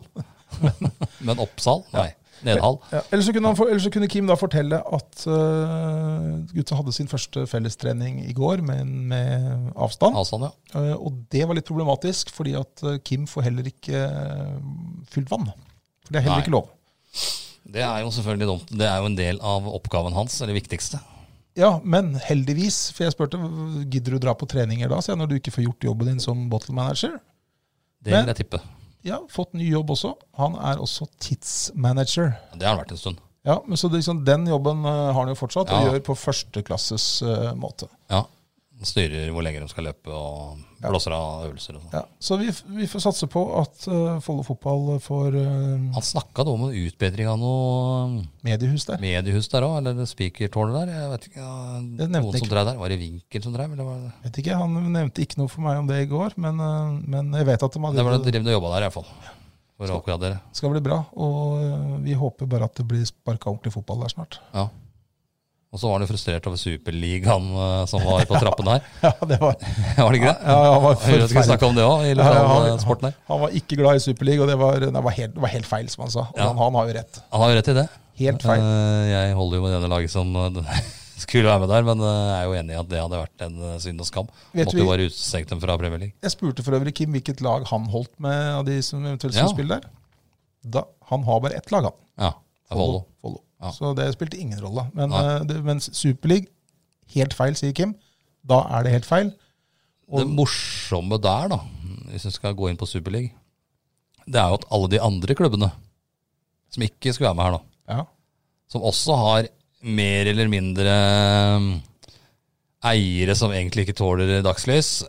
Speaker 2: Men Oppsal? Nei. Nedhall.
Speaker 1: Ja, eller, så kunne han, for- eller så kunne Kim da fortelle at eh, gutta hadde sin første fellestrening i går, men med avstand.
Speaker 2: Avstand, ja.
Speaker 1: Eh, Og det var litt problematisk, fordi at eh, Kim får heller ikke eh, fylt vann. For det er heller
Speaker 2: Nei.
Speaker 1: ikke lov.
Speaker 2: Det er jo selvfølgelig dumt. Det er jo en del av oppgaven hans, eller viktigste.
Speaker 1: Ja, men heldigvis, for jeg spurte gidder du dra på treninger da, sier jeg, når du ikke får gjort jobben din som bottle manager.
Speaker 2: Det vil jeg tippe.
Speaker 1: Ja, fått ny jobb også. Han er også tidsmanager.
Speaker 2: Det har han vært en stund.
Speaker 1: Ja, men så det, er liksom, den jobben eh, har han jo fortsatt,
Speaker 2: Ja.
Speaker 1: og gjør på førsteklasses eh, måte.
Speaker 2: Ja. Styrer hvor lenge de skal løpe, og blåser av øvelser og sånn.
Speaker 1: Ja, så vi, f- vi får satse på at eh, Follo fotball får eh,
Speaker 2: Han snakka da om en utbedring av noe
Speaker 1: mediehus der.
Speaker 2: mediehus der òg, eller spikertårnet der. Jeg vet ikke, ja,
Speaker 1: Det nevnte
Speaker 2: noen som
Speaker 1: ikke.
Speaker 2: drev der. Var det Vinkel som drev? Eller var det?
Speaker 1: Vet ikke, Han nevnte ikke noe for meg om det i går, men, eh, men jeg vet at de
Speaker 2: det
Speaker 1: hadde
Speaker 2: var det drevne jobba der, i hvert fall. For å oppgradere.
Speaker 1: skal bli bra. Og øh, vi håper bare at det blir sparka ordentlig fotball der snart.
Speaker 2: Ja. Og så var han jo frustrert over Superligaen eh, som var på trappene her.
Speaker 1: Ja, det var,
Speaker 2: Var det ikke det?
Speaker 1: han, var
Speaker 2: Jeg hører at vi snakke om det òg, i
Speaker 1: Ja, ja, han-
Speaker 2: lokalsporten her.
Speaker 1: han var ikke glad i Superliga, og det var, det var, helt, det var helt feil, som han sa. Og
Speaker 2: Ja.
Speaker 1: han, han har jo rett.
Speaker 2: Han har jo rett i det.
Speaker 1: Helt feil.
Speaker 2: Eh, Jeg holder jo med det ene laget som eh, skulle være med der, men eh, jeg er jo enig i at det hadde vært en eh, synd og skam.
Speaker 1: Vet
Speaker 2: Måtte
Speaker 1: vi-
Speaker 2: jo bare utestengt dem fra Premier League.
Speaker 1: Jeg spurte for øvrig Kim hvilket lag han holdt med av de som eventuelt skulle
Speaker 2: Ja.
Speaker 1: spille der. Da, han har bare ett lag, han.
Speaker 2: Ja, Follo.
Speaker 1: Follo.
Speaker 2: Ja.
Speaker 1: Så det spilte ingen rolle. Men,
Speaker 2: Nei.
Speaker 1: øh, det, mens Superliga, helt feil, sier Kim. Da er det helt feil.
Speaker 2: Det morsomme der, da, hvis vi skal gå inn på Superliga, det er jo at alle de andre klubbene som ikke skulle være med her, da,
Speaker 1: Ja.
Speaker 2: som også har mer eller mindre um, eiere som egentlig ikke tåler dagslys,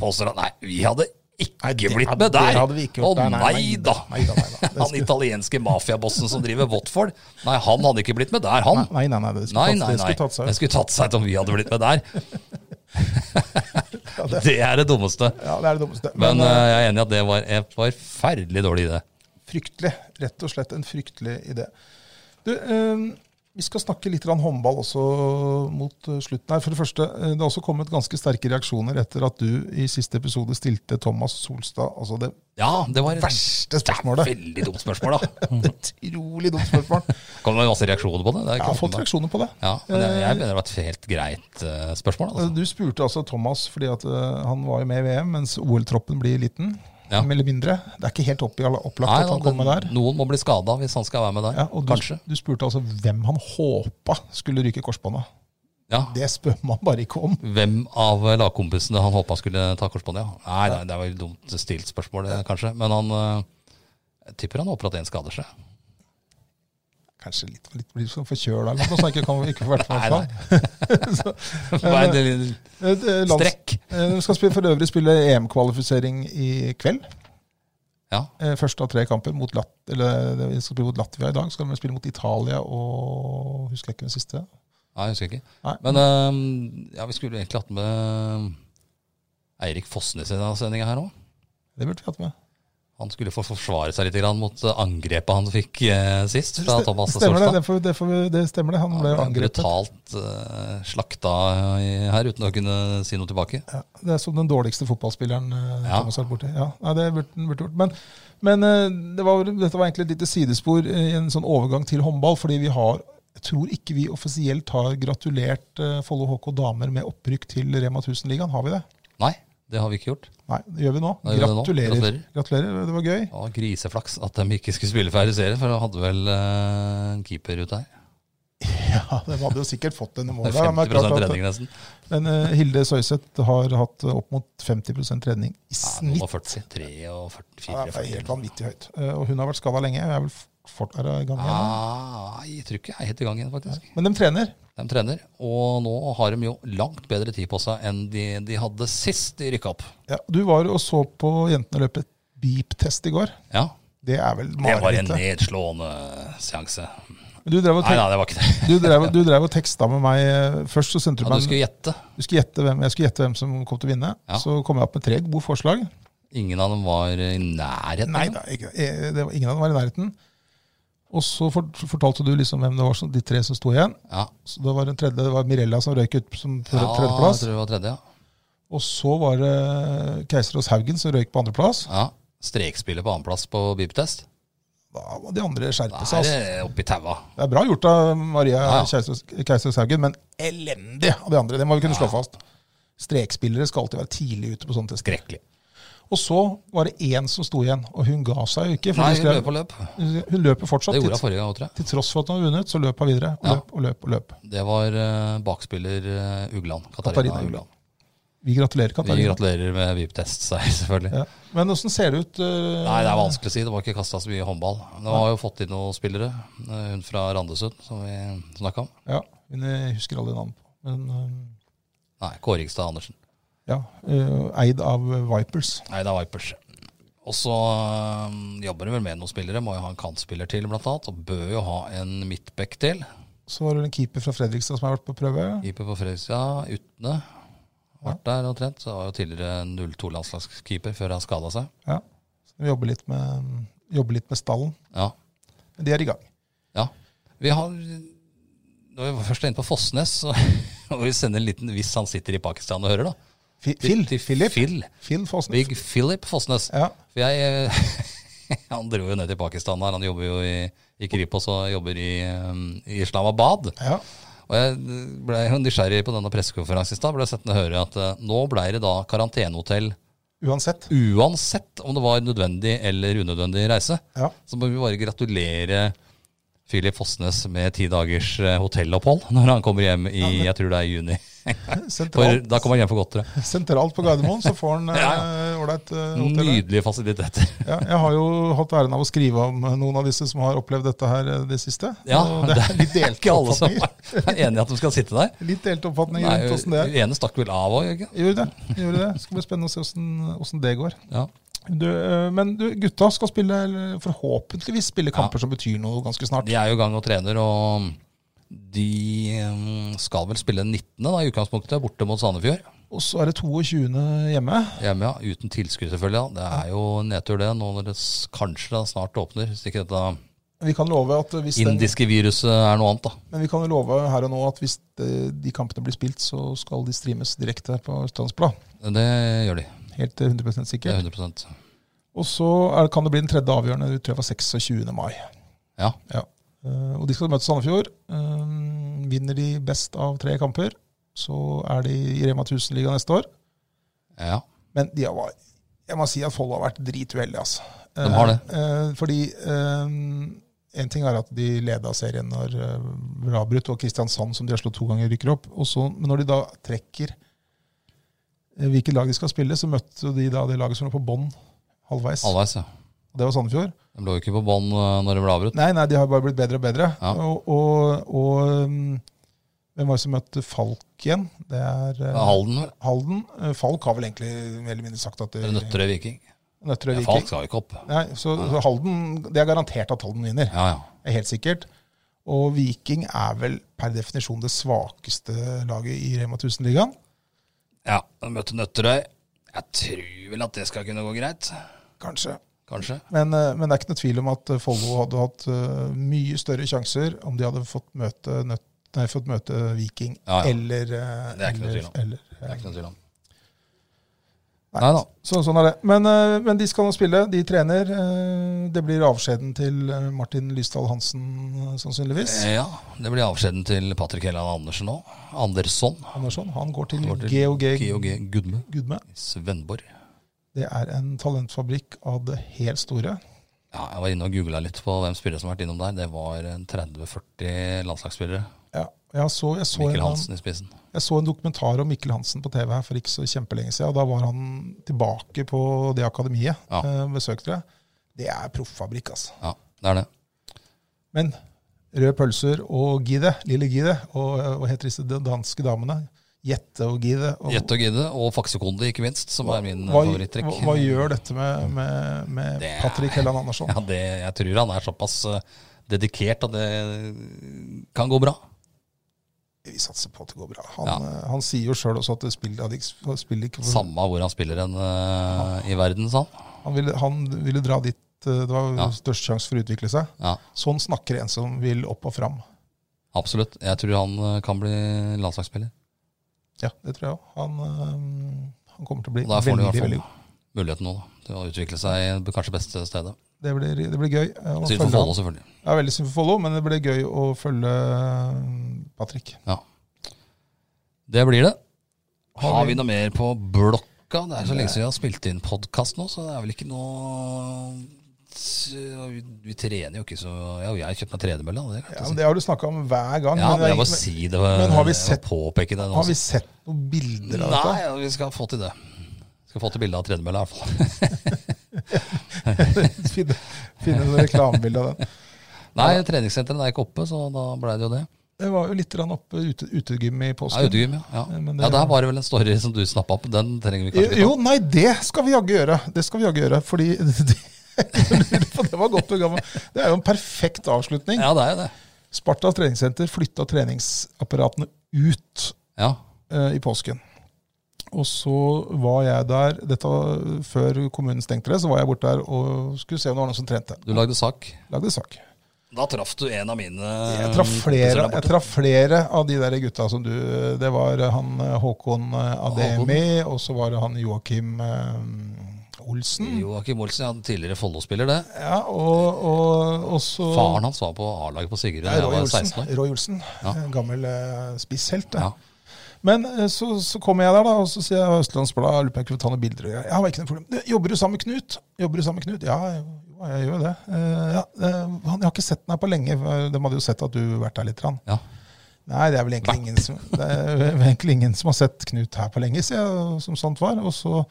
Speaker 2: påstår at nei, vi hadde ikke
Speaker 1: Nei, det
Speaker 2: blitt
Speaker 1: hadde-
Speaker 2: med
Speaker 1: det
Speaker 2: der.
Speaker 1: hadde vi ikke gjort.
Speaker 2: Å
Speaker 1: Nei,
Speaker 2: nei,
Speaker 1: nei, nei
Speaker 2: da.
Speaker 1: da, nei da, nei da. Det
Speaker 2: Han italienske mafiabossen som driver Watford, nei, han hadde ikke blitt med der, han.
Speaker 1: Nei, nei, nei. Det skulle
Speaker 2: Nei,
Speaker 1: tatt,
Speaker 2: nei,
Speaker 1: det
Speaker 2: nei.
Speaker 1: skulle tatt seg
Speaker 2: Det
Speaker 1: ut.
Speaker 2: skulle tatt seg ut om vi hadde blitt med der. Det er det dummeste.
Speaker 1: Ja, det er det dummeste.
Speaker 2: Men
Speaker 1: Men,
Speaker 2: eh,
Speaker 1: eh,
Speaker 2: jeg er enig i at det var en forferdelig dårlig idé.
Speaker 1: fryktelig. Rett og slett en fryktelig idé. Du, eh, vi skal snakke litt grann håndball også mot eh, slutten her. For det første, eh, det har også kommet ganske sterke reaksjoner etter at du i siste episode stilte Thomas Solstad altså det
Speaker 2: Ja, det var et
Speaker 1: verste spørsmålet.
Speaker 2: veldig dumt spørsmål, da.
Speaker 1: Utrolig dumt spørsmål.
Speaker 2: Kom det masse reaksjoner på det? det er
Speaker 1: Jeg
Speaker 2: ikke
Speaker 1: har fått
Speaker 2: åpenbart.
Speaker 1: reaksjoner på det.
Speaker 2: Ja, men jeg, jeg mener det var et helt greit eh, spørsmål.
Speaker 1: Eh,
Speaker 2: Altså.
Speaker 1: Du spurte altså Thomas fordi at eh, han var jo med i VM, mens OL-troppen blir liten.
Speaker 2: Ja.
Speaker 1: Eller mindre. Det er ikke helt opp i alle opplagt at han
Speaker 2: da,
Speaker 1: kommer der.
Speaker 2: Noen må bli skada hvis han skal være med der.
Speaker 1: Ja, og du,
Speaker 2: Kanskje.
Speaker 1: du spurte altså hvem han håpa skulle ryke korsbånda.
Speaker 2: Ja.
Speaker 1: Det spør man bare ikke om.
Speaker 2: Hvem av eh, lagkompisene han håpa skulle ta korsbåndet? Ja. Nei, nei, det var et dumt stilt spørsmål, eh, kanskje. Men han eh, jeg tipper han håper at en skader seg.
Speaker 1: Kanskje litt, litt blir sånn forkjøla eller noe, så han ikke, kan, ikke får vært med.
Speaker 2: Nei,
Speaker 1: så,
Speaker 2: Nei, det er litt
Speaker 1: eh, det- lands-
Speaker 2: Strekk.
Speaker 1: Eh, De skal spille, for øvrig spille EM-kvalifisering i kveld.
Speaker 2: Ja.
Speaker 1: Eh, Første av tre kamper mot, Lat eller, de skal spille mot Latvia i dag. Så skal de spille mot Italia og Husker jeg ikke den siste.
Speaker 2: Nei, jeg husker ikke.
Speaker 1: Nei.
Speaker 2: Men eh, ja, vi skulle egentlig hatt med ehm, Eirik Fossnes i denne sendinga her òg.
Speaker 1: Det burde vi hatt med.
Speaker 2: Han skulle få forsvare seg litt grann mot eh, angrepet han fikk eh, sist fra Thomas
Speaker 1: stemmer det,
Speaker 2: Solstad.
Speaker 1: det, får, det, får, vi- det stemmer det. Han ble jo
Speaker 2: Han ble
Speaker 1: angrepet.
Speaker 2: brutalt eh, slakta i- her uten å kunne si noe tilbake.
Speaker 1: Ja, det er som den dårligste fotballspilleren eh,
Speaker 2: Ja.
Speaker 1: Thomas har vært borti. Ja, nei, det burde den burde gjort. Men, men eh, det var, dette var egentlig et lite sidespor eh, i en sånn overgang til håndball, fordi vi har jeg tror ikke vi offisielt har gratulert eh, Follo HK damer med opprykk til Rema 1000-ligaen. Har vi det?
Speaker 2: Nei, det har vi ikke gjort.
Speaker 1: Nei, det gjør vi nå.
Speaker 2: Nei, vi gjør det nå.
Speaker 1: Gratulerer.
Speaker 2: Gratulerer.
Speaker 1: Gratulerer, Det var gøy.
Speaker 2: Det var griseflaks at de ikke skulle spille ferdig serien, for de hadde vel eh, en keeper ute her.
Speaker 1: Ja, De hadde jo sikkert fått denne
Speaker 2: Det
Speaker 1: målet.
Speaker 2: er 50
Speaker 1: men, det er klart
Speaker 2: redning, nesten.
Speaker 1: at- men eh, Hilde Søyseth har hatt eh, opp mot 50 redning i
Speaker 2: Ja,
Speaker 1: snitt.
Speaker 2: noen var 40, 43 og 44.
Speaker 1: Ja, det er helt vanvittig høyt. Eh, Og hun har vært skada lenge. Hun er vel fort er i gang igjen. nå.
Speaker 2: Ah, jeg tror ikke jeg er helt i gang igjen, faktisk.
Speaker 1: Men de trener.
Speaker 2: De trener, og nå har de jo langt bedre tid på seg enn de, de hadde sist de rykka opp.
Speaker 1: Ja, du var og så på jentene løpe et beep-test i går.
Speaker 2: Ja,
Speaker 1: Det er vel
Speaker 2: det var en
Speaker 1: marerittet.
Speaker 2: nedslående seanse.
Speaker 1: Du drev og,
Speaker 2: Nei,
Speaker 1: tek
Speaker 2: nei, det var ikke det.
Speaker 1: du drev, du drev og teksta med meg. eh, Først så sendte du
Speaker 2: Ja, du
Speaker 1: meg
Speaker 2: skulle gjette.
Speaker 1: du skulle gjette hvem, Jeg skulle gjette hvem som kom til å vinne.
Speaker 2: Ja.
Speaker 1: Så kom jeg opp med tre gode forslag.
Speaker 2: Ingen av dem var i nærheten.
Speaker 1: Nei da, ikke, eh, det var, ingen av dem var i nærheten. Og så fort- fortalte du liksom hvem det var, som, de tre som sto igjen.
Speaker 2: Ja.
Speaker 1: Så det var en tredje, det var Mirella som røyk ut som tre-
Speaker 2: Ja, jeg
Speaker 1: tredjeplass.
Speaker 2: tror det var tredje, ja.
Speaker 1: og så var det Keiserås Haugen som røyk på andreplass.
Speaker 2: ja. Strekspillet på annenplass på bibtest.
Speaker 1: Da må de andre skjerpe
Speaker 2: Da
Speaker 1: seg.
Speaker 2: er
Speaker 1: Altså.
Speaker 2: det oppi taua.
Speaker 1: Det er bra gjort av Maria
Speaker 2: Ja, ja.
Speaker 1: Keiser- Keisershaug Haugen, men elendig av de andre. Det må vi kunne slå fast. Strekspillere skal alltid være tidlig ute på sånne tester.
Speaker 2: Skrekkelig.
Speaker 1: Og så var det én som sto igjen, og hun ga seg jo ikke. For
Speaker 2: Nei,
Speaker 1: hun,
Speaker 2: hun
Speaker 1: skrev,
Speaker 2: løp og løp.
Speaker 1: hun løper fortsatt.
Speaker 2: Det
Speaker 1: Til,
Speaker 2: gjorde hun forrige gang òg, tror jeg.
Speaker 1: til tross for at hun har vunnet, så løp hun videre. Og
Speaker 2: Ja.
Speaker 1: løp og løp og løp.
Speaker 2: Det var eh, bakspiller eh, Ugland. Katarina
Speaker 1: Katarina
Speaker 2: Ugland.
Speaker 1: Vi gratulerer,
Speaker 2: Vi
Speaker 1: Katarina.
Speaker 2: gratulerer med VIP-test-seier, selvfølgelig.
Speaker 1: Ja. Men åssen ser det ut? eh,
Speaker 2: Nei, det er vanskelig å si. Det var ikke kasta så mye håndball. De har jo fått inn noen spillere. eh, Hun fra Randesund, som vi snakka om.
Speaker 1: Ja, men jeg husker alle navn på. Men eh,
Speaker 2: Nei, Kårigstad Andersen.
Speaker 1: ja, eh, eid av Vipers.
Speaker 2: Nei, det er Vipers. Og så øhm, jobber de vel med noen spillere. Må jo ha en kantspiller til, blant annet. Og bør jo ha en midtback til.
Speaker 1: Så var det en keeper fra Fredrikstad som har vært på prøve.
Speaker 2: Keeper på Fredrikstad, Utne. Vært der og trent. Så var jo tidligere 02-landslagskeeper før han skada seg.
Speaker 1: Ja. Så vi jobber litt med, jobber litt med stallen.
Speaker 2: Ja.
Speaker 1: Men de er i gang.
Speaker 2: ja. Vi har Når vi først er inne på Fossnes, så må vi sende en liten Hvis han sitter i Pakistan og hører, da.
Speaker 1: Fi- Phil,
Speaker 2: Til
Speaker 1: Philip,
Speaker 2: Phil.
Speaker 1: Phil Fossen.
Speaker 2: Big Philip Fossnes.
Speaker 1: Ja,
Speaker 2: For jeg eh, Han dro jo ned til Pakistan der. Han jobber jo i, i Kripos og jobber i, øhm, i Islamabad.
Speaker 1: ja.
Speaker 2: Og jeg ble jo nysgjerrig på denne pressekonferansen i stad. Ble sittende og høre at eh, nå ble det da karantenehotell
Speaker 1: Uansett.
Speaker 2: uansett om det var nødvendig eller unødvendig reise.
Speaker 1: Ja.
Speaker 2: Så må vi bare gratulere Philip Fossnes med ti dagers eh, hotellopphold når han kommer hjem i jeg tror det er juni. For,
Speaker 1: Sentralt,
Speaker 2: da kommer han hjem for godt, tror jeg.
Speaker 1: sentralt på Gardermoen, så får han
Speaker 2: Ja,
Speaker 1: eh, ålreit eh, hotell.
Speaker 2: Nydelige fasiliteter.
Speaker 1: Ja, jeg har jo hatt æren av å skrive om eh, noen av disse som har opplevd dette her eh, det siste.
Speaker 2: Ja,
Speaker 1: og det er litt delte
Speaker 2: ikke alle som
Speaker 1: oppfatninger.
Speaker 2: er enig i at de skal sitte der.
Speaker 1: Litt delte oppfatninger
Speaker 2: Nei,
Speaker 1: rundt åssen det er.
Speaker 2: Den ene stakk vel av òg, ikke
Speaker 1: Gjorde det. Gjorde det. Skal bli spennende å se åssen- åssen det går.
Speaker 2: ja.
Speaker 1: Du, eh, men du, gutta skal spille, eller forhåpentligvis spille kamper som betyr noe ganske snart.
Speaker 2: De er jo i gang og trener, og de mm, skal vel spille 19. da, i utgangspunktet, borte mot Sandefjord.
Speaker 1: Og så er det 22. hjemme.
Speaker 2: Hjemme, ja. Uten tilskudd, selvfølgelig. Ja. Det er jo nedtur, det, nå når det s- kanskje da snart åpner. Hvis ikke dette
Speaker 1: Vi kan love at hvis den,
Speaker 2: indiske viruset er noe annet, da.
Speaker 1: men vi kan jo love her og nå at hvis de, de kampene blir spilt, så skal de streames direkte på Østlandsblad.
Speaker 2: Det gjør de.
Speaker 1: Helt eh, 100
Speaker 2: Det er
Speaker 1: sikkert.
Speaker 2: 100
Speaker 1: Og så er, kan det bli den tredje avgjørende, det tror jeg var 26. mai.
Speaker 2: Ja.
Speaker 1: Eh, og de skal møte Sandefjord. Eh, vinner de best av tre kamper, så er de i Rema 1000-ligaen neste år.
Speaker 2: ja.
Speaker 1: Men de har, jeg må si at Follo har vært drituheldige, altså.
Speaker 2: De har det.
Speaker 1: Eh, fordi én ting er at de leda serien når eh, Rabrut og Kristiansand, som de har slått to ganger, rykker opp. Og så, men når de da trekker eh, hvilket lag de skal spille, så møtte de da det laget som lå på bånn halvveis.
Speaker 2: Halvveis, ja.
Speaker 1: Det var Sandefjord.
Speaker 2: De lå jo ikke på bånn eh, når det ble avbrutt.
Speaker 1: Nei, nei, de har bare blitt bedre og bedre.
Speaker 2: Ja.
Speaker 1: Og, og, og um, hvem var det som møtte Falk igjen? Det er eh,
Speaker 2: Halden, vel.
Speaker 1: Halden. Eh, Falk har vel egentlig mer eller mindre sagt at det,
Speaker 2: Eller Nøtterøy Viking.
Speaker 1: Nøtterøy
Speaker 2: Ja,
Speaker 1: Viking.
Speaker 2: Falk skal jo ikke opp.
Speaker 1: Nei, så, så Halden, Det er garantert at Halden vinner.
Speaker 2: Ja, ja.
Speaker 1: Det er helt sikkert. Og Viking er vel per definisjon det svakeste laget i Rema 1000-ligaen.
Speaker 2: Ja, de møtte Nøtterøy. Jeg tror vel at det skal kunne gå greit.
Speaker 1: Kanskje.
Speaker 2: Kanskje.
Speaker 1: Men, eh, men det er ikke noe tvil om at eh, Follo hadde hatt eh, mye større sjanser om de hadde fått møte, nøtt, nei, fått møte Viking
Speaker 2: Ja, ja.
Speaker 1: eller eh,
Speaker 2: Det er ikke noe
Speaker 1: eller-
Speaker 2: tvil om.
Speaker 1: eller,
Speaker 2: Det er ikke noe tvil om.
Speaker 1: Nei.
Speaker 2: Nei da.
Speaker 1: Så, sånn er det. Men, eh, men de skal nå spille, de trener. eh, Det blir avskjeden til eh, Martin Lysdal Hansen, eh, sannsynligvis.
Speaker 2: Ja, det blir avskjeden til Patrick Helland Andersen nå. Andersson.
Speaker 1: Andersson, han går til
Speaker 2: Går til
Speaker 1: GOG
Speaker 2: GOG Gudme.
Speaker 1: Gudme.
Speaker 2: i Svenborg.
Speaker 1: Det er en talentfabrikk av det helt store.
Speaker 2: Ja, jeg var inne og googla litt på hvem spillere som har vært innom der. Det var en 30-40 landslagsspillere.
Speaker 1: Ja, jeg, så, jeg, så en,
Speaker 2: Mikkel
Speaker 1: annen-
Speaker 2: Hansen i spissen.
Speaker 1: jeg så en dokumentar om Mikkel Hansen på TV her for ikke så kjempelenge siden. Da var han tilbake på det akademiet.
Speaker 2: Ja.
Speaker 1: eh, Besøkte det. Det er profffabrikk, altså.
Speaker 2: Ja, det er det.
Speaker 1: Men røde pølser og gide, lille gide, og eh, hva heter disse danske damene? Jette og gide. Og,
Speaker 2: Jette og Gide, og Faksekonde, ikke minst, som er min
Speaker 1: hva,
Speaker 2: favorittrekk.
Speaker 1: hva, hva gjør dette med, med, med
Speaker 2: Det er-
Speaker 1: Patrick Helland Andersson?
Speaker 2: Ja, det, jeg tror han er såpass eh, dedikert at det kan gå bra.
Speaker 1: Vi satser på at det går bra. Han,
Speaker 2: Ja.
Speaker 1: eh, han sier jo sjøl også at det spiller, at det spiller ikke for,
Speaker 2: Samme hvor han spiller en, eh, i verden, sa han.
Speaker 1: han, ville, han ville dra dit eh, det var
Speaker 2: Ja.
Speaker 1: størst sjanse for å utvikle seg.
Speaker 2: Ja,
Speaker 1: Sånn snakker en som vil opp og fram.
Speaker 2: absolutt. Jeg tror han eh, kan bli landslagsspiller.
Speaker 1: Ja, det tror jeg òg. Han, eh, han kommer til å bli
Speaker 2: Og der får han i
Speaker 1: veldig,
Speaker 2: hvert
Speaker 1: veldig
Speaker 2: fall
Speaker 1: god.
Speaker 2: muligheten nå, da, til å utvikle seg i det kanskje beste stedet.
Speaker 1: Det blir, det blir gøy. eh, å følge
Speaker 2: Synd for
Speaker 1: han.
Speaker 2: Follo, selvfølgelig.
Speaker 1: Det er veldig synd for Follo, men det ble gøy å følge eh, Patrick.
Speaker 2: Ja. Det blir det.
Speaker 1: Har
Speaker 2: Har
Speaker 1: vi-
Speaker 2: vi noe mer på blokka? Det er så lenge siden vi har spilt inn podkast nå, så det er vel ikke noe Vi vi trener jo ikke så Ja, jeg har kjøpt meg tredemølle. da, Det kan jeg
Speaker 1: Ja,
Speaker 2: ikke
Speaker 1: men
Speaker 2: si.
Speaker 1: det har du snakka om hver gang.
Speaker 2: Ja,
Speaker 1: men
Speaker 2: men jeg
Speaker 1: men-
Speaker 2: må si det.
Speaker 1: men har vi sett-
Speaker 2: påpeke det nå.
Speaker 1: har vi sett noen bilder av
Speaker 2: Nei,
Speaker 1: dette?
Speaker 2: ja, vi skal få til det. Vi skal få til bilde av tredemølla, i hvert fall.
Speaker 1: Finne, finne noen reklamebilder av den.
Speaker 2: Nei, treningssenteret er ikke oppe, så da blei det jo det.
Speaker 1: Det var jo litt grann oppe ute, utegym i
Speaker 2: Ja,
Speaker 1: påsken.
Speaker 2: utegym, ja. Ja.
Speaker 1: Men det-
Speaker 2: ja. Der var det vel en story som du snappa opp. Den trenger vi kanskje ikke ta.
Speaker 1: jo, nei, det skal vi jaggu gjøre. Det skal vi jaggu gjøre, fordi det, det var godt program. Det er jo en perfekt avslutning.
Speaker 2: Ja, det er jo det.
Speaker 1: Spartas treningssenter flytta treningsapparatene ut
Speaker 2: Ja.
Speaker 1: eh, i påsken. Og så var jeg der dette var Før kommunen stengte det, så var jeg borte der og skulle se om det var noen som trente.
Speaker 2: Du lagde sak.
Speaker 1: Lagde sak.
Speaker 2: Da traff du en av mine
Speaker 1: Jeg traff flere, jeg traff flere av de der gutta som du Det var han eh, Håkon eh, Ademi, og så var det han Joakim eh, Olsen.
Speaker 2: Joakim Olsen, ja, tidligere Follo-spiller, det.
Speaker 1: Ja, og, og, og så
Speaker 2: Faren hans var på A-laget på Sigurd da
Speaker 1: Nei,
Speaker 2: jeg
Speaker 1: Roy
Speaker 2: var 16
Speaker 1: Olsen.
Speaker 2: år.
Speaker 1: Roy Olsen.
Speaker 2: Ja.
Speaker 1: En Gammel eh, spisshelt. det.
Speaker 2: Ja.
Speaker 1: Men eh, så, så kommer jeg der, da, og så sier jeg Østlandsbladet lurer på om jeg kunne ta noen bilder. Og jeg, ja, det var ikke noe problem. «Du, Jobber du sammen med Knut? Jobber du sammen med Knut? Ja, jo, jeg gjør jo det. «Eh, ja, eh, han, jeg har ikke sett den her på lenge. for De hadde jo sett at du vært der litt. Rann.
Speaker 2: Ja.
Speaker 1: Nei, det er vel egentlig ingen som, det er vel egentlig ingen som har sett Knut her på lenge siden, som sånt var. Og så,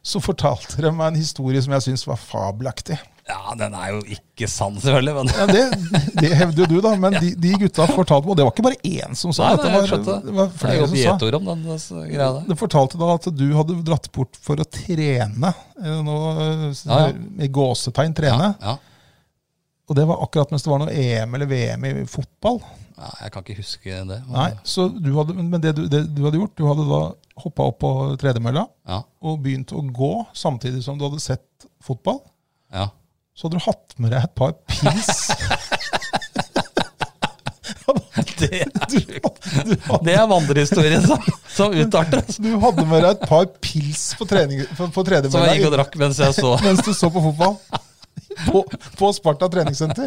Speaker 1: så fortalte de meg en historie som jeg syns var fabelaktig.
Speaker 2: Ja, den er jo ikke sann, selvfølgelig. Men
Speaker 1: Ja, det, det hevder jo du, da, men de, de gutta fortalte meg, og det var ikke bare én som sa
Speaker 2: Nei,
Speaker 1: det,
Speaker 2: nei, jeg
Speaker 1: det,
Speaker 2: skjønte
Speaker 1: var, det var
Speaker 2: det er
Speaker 1: flere
Speaker 2: jo
Speaker 1: som sa
Speaker 2: gjetord om den altså, greia der.
Speaker 1: De fortalte da at du hadde dratt bort for å trene, eh, nå, eh,
Speaker 2: Ja, ja.
Speaker 1: med gåsetegn trene.
Speaker 2: Ja,
Speaker 1: Og det var akkurat mens det var noe EM eller VM i fotball.
Speaker 2: ja, jeg kan ikke huske det. men-
Speaker 1: Nei, så du hadde, Men det du, det du hadde gjort, du hadde da hoppa opp på tredemølla.
Speaker 2: Ja,
Speaker 1: og begynt å gå samtidig som du hadde sett fotball,
Speaker 2: ja.
Speaker 1: så hadde du hatt med deg et par pils.
Speaker 2: Det er,
Speaker 1: Du, du, hadde,
Speaker 2: det er vandrehistorien som, som utarter. altså.
Speaker 1: du hadde med deg et par pils på, trening, på, på
Speaker 2: Som jeg gikk og
Speaker 1: tredemølla
Speaker 2: drakk mens jeg så.
Speaker 1: mens du så på fotball. På, på Sparta treningssenter.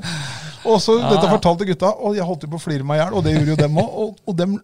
Speaker 1: Og så Dette fortalte gutta, og jeg holdt jo på å flire meg i hjel. Og det gjorde jo dem òg. Og, og dem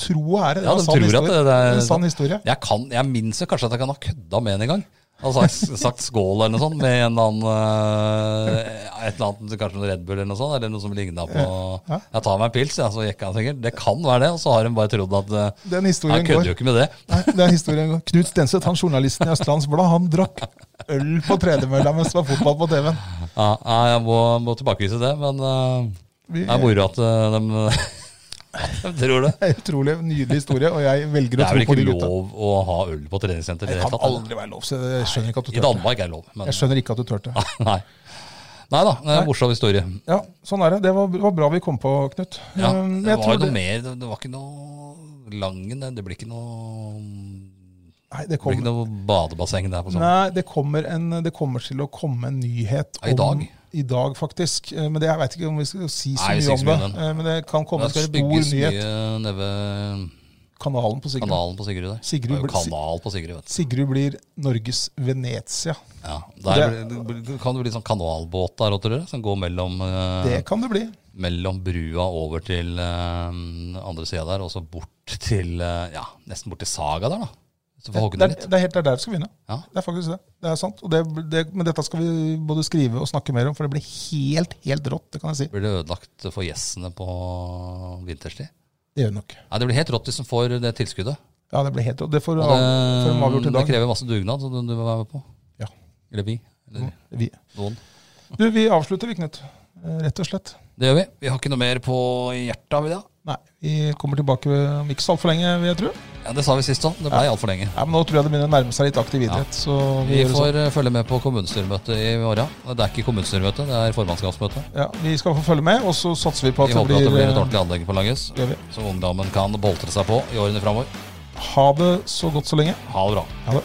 Speaker 1: tro og ære. Det
Speaker 2: Ja,
Speaker 1: var
Speaker 2: de
Speaker 1: sann
Speaker 2: tror at
Speaker 1: historie.
Speaker 2: det- det er-
Speaker 1: en sann historie.
Speaker 2: Jeg, kan, jeg minnes jo kanskje at jeg kan ha kødda med en en gang. Altså, jeg har sagt skål eller noe sånt med en eller annen eh, Et eller annet, kanskje noe Red Bull eller noe sånt. Eller noe som ligna på Jeg tar meg en pils, ja, så jekker han sikkert. Det kan være det. Og så har hun bare trodd at eh,
Speaker 1: Den historien
Speaker 2: Jeg kødder
Speaker 1: går.
Speaker 2: jo ikke med det.
Speaker 1: Nei, det er historien går. Knut Stenseth, han journalisten i Østlands Blad, han drakk øl på tredemølla mens det var fotball på TV-en.
Speaker 2: Ja, ja, jeg må, må tilbakevise det, men eh,
Speaker 1: Vi-
Speaker 2: det er moro at eh, de, de tror det.
Speaker 1: Det er en utrolig nydelig historie, og jeg velger å
Speaker 2: Det er
Speaker 1: tro
Speaker 2: vel
Speaker 1: på
Speaker 2: ikke
Speaker 1: de gutta.
Speaker 2: lov å ha øl på treningssenter? i
Speaker 1: Det
Speaker 2: det hele
Speaker 1: kan
Speaker 2: tatt, eller?
Speaker 1: aldri være lov, så jeg skjønner ikke at du
Speaker 2: I
Speaker 1: turte.
Speaker 2: Danmark er det lov, men
Speaker 1: Jeg skjønner ikke at du turte.
Speaker 2: nei. Nei da, det er en morsom historie.
Speaker 1: Ja, sånn er det. Det var, var bra vi kom på, Knut.
Speaker 2: Ja,
Speaker 1: Um,
Speaker 2: det
Speaker 1: jeg
Speaker 2: var
Speaker 1: tror
Speaker 2: jo noe
Speaker 1: det-
Speaker 2: mer, det, det var ikke noe Langen, det- det blir ikke noe,
Speaker 1: Nei, det
Speaker 2: det blir ikke
Speaker 1: kommer,
Speaker 2: noe badebasseng der på sånn.
Speaker 1: nei, det kommer, en, det kommer til å komme en nyhet
Speaker 2: Ja, i
Speaker 1: om-
Speaker 2: dag.
Speaker 1: I dag, faktisk. Eh, Men det, jeg veit ikke om vi skal si så
Speaker 2: Nei,
Speaker 1: mye
Speaker 2: vi
Speaker 1: om
Speaker 2: sier ikke så mye
Speaker 1: det.
Speaker 2: om den.
Speaker 1: Eh, Men det kan komme
Speaker 2: Da
Speaker 1: en
Speaker 2: skal
Speaker 1: stor
Speaker 2: det bygges
Speaker 1: nyhet.
Speaker 2: mye nede ved
Speaker 1: Kanalen på Sigrud.
Speaker 2: kanalen på Sigurd der.
Speaker 1: Sigrid
Speaker 2: Det er jo
Speaker 1: blir-
Speaker 2: Kanal på Sigurd, vet du.
Speaker 1: Sigrud blir Norges Venezia.
Speaker 2: Ja, der blir- det kan det bli sånn kanalbåt der, tror dere, som går mellom, eh,
Speaker 1: Det kan det bli.
Speaker 2: mellom brua over til eh, andre sida der, og så bort til, eh, ja, nesten bort til Saga der da. Så får hogge
Speaker 1: Det
Speaker 2: den
Speaker 1: er,
Speaker 2: litt.
Speaker 1: det er helt det er der vi skal begynne.
Speaker 2: Ja.
Speaker 1: Det er faktisk det. Det er sant. Og det, det, men dette skal vi både skrive og snakke mer om, for det blir helt, helt rått. Det kan jeg si.
Speaker 2: Blir det ødelagt for gjessene på vinterstid?
Speaker 1: Det gjør det nok.
Speaker 2: Nei, det blir helt rått hvis de får det tilskuddet.
Speaker 1: Ja, det blir helt rått. Det får
Speaker 2: Og
Speaker 1: av- får de
Speaker 2: det,
Speaker 1: avgjort i
Speaker 2: det
Speaker 1: dag.
Speaker 2: krever masse dugnad, så du, du vil være med på.
Speaker 1: Ja.
Speaker 2: Eller vi. Eller
Speaker 1: Vi.
Speaker 2: noen.
Speaker 1: Du, vi avslutter, vi, Knut. Eh, Rett og slett.
Speaker 2: Det gjør vi. Vi har ikke noe mer på hjertet, har vi det?
Speaker 1: Nei, vi kommer tilbake om ikke så altfor lenge, vil jeg tro.
Speaker 2: Ja, det sa vi sist òg. Det blei altfor lenge.
Speaker 1: Nei, men nå tror jeg det begynner å nærme seg litt aktiv idrett. Så vi,
Speaker 2: Vi
Speaker 1: gjør det sånn.
Speaker 2: får eh, følge med på kommunestyremøtet i morgen. Det er ikke kommunestyremøte, det er formannskapsmøte.
Speaker 1: ja, vi skal få følge med, og så satser vi på
Speaker 2: Vi
Speaker 1: at det
Speaker 2: håper
Speaker 1: blir, eh,
Speaker 2: at det blir et ordentlig anlegg på Langhus,
Speaker 1: det gjør vi.
Speaker 2: så ungdommen kan boltre seg på i årene framover.
Speaker 1: Ha det så godt så lenge.
Speaker 2: Ha det bra.
Speaker 1: Ha det.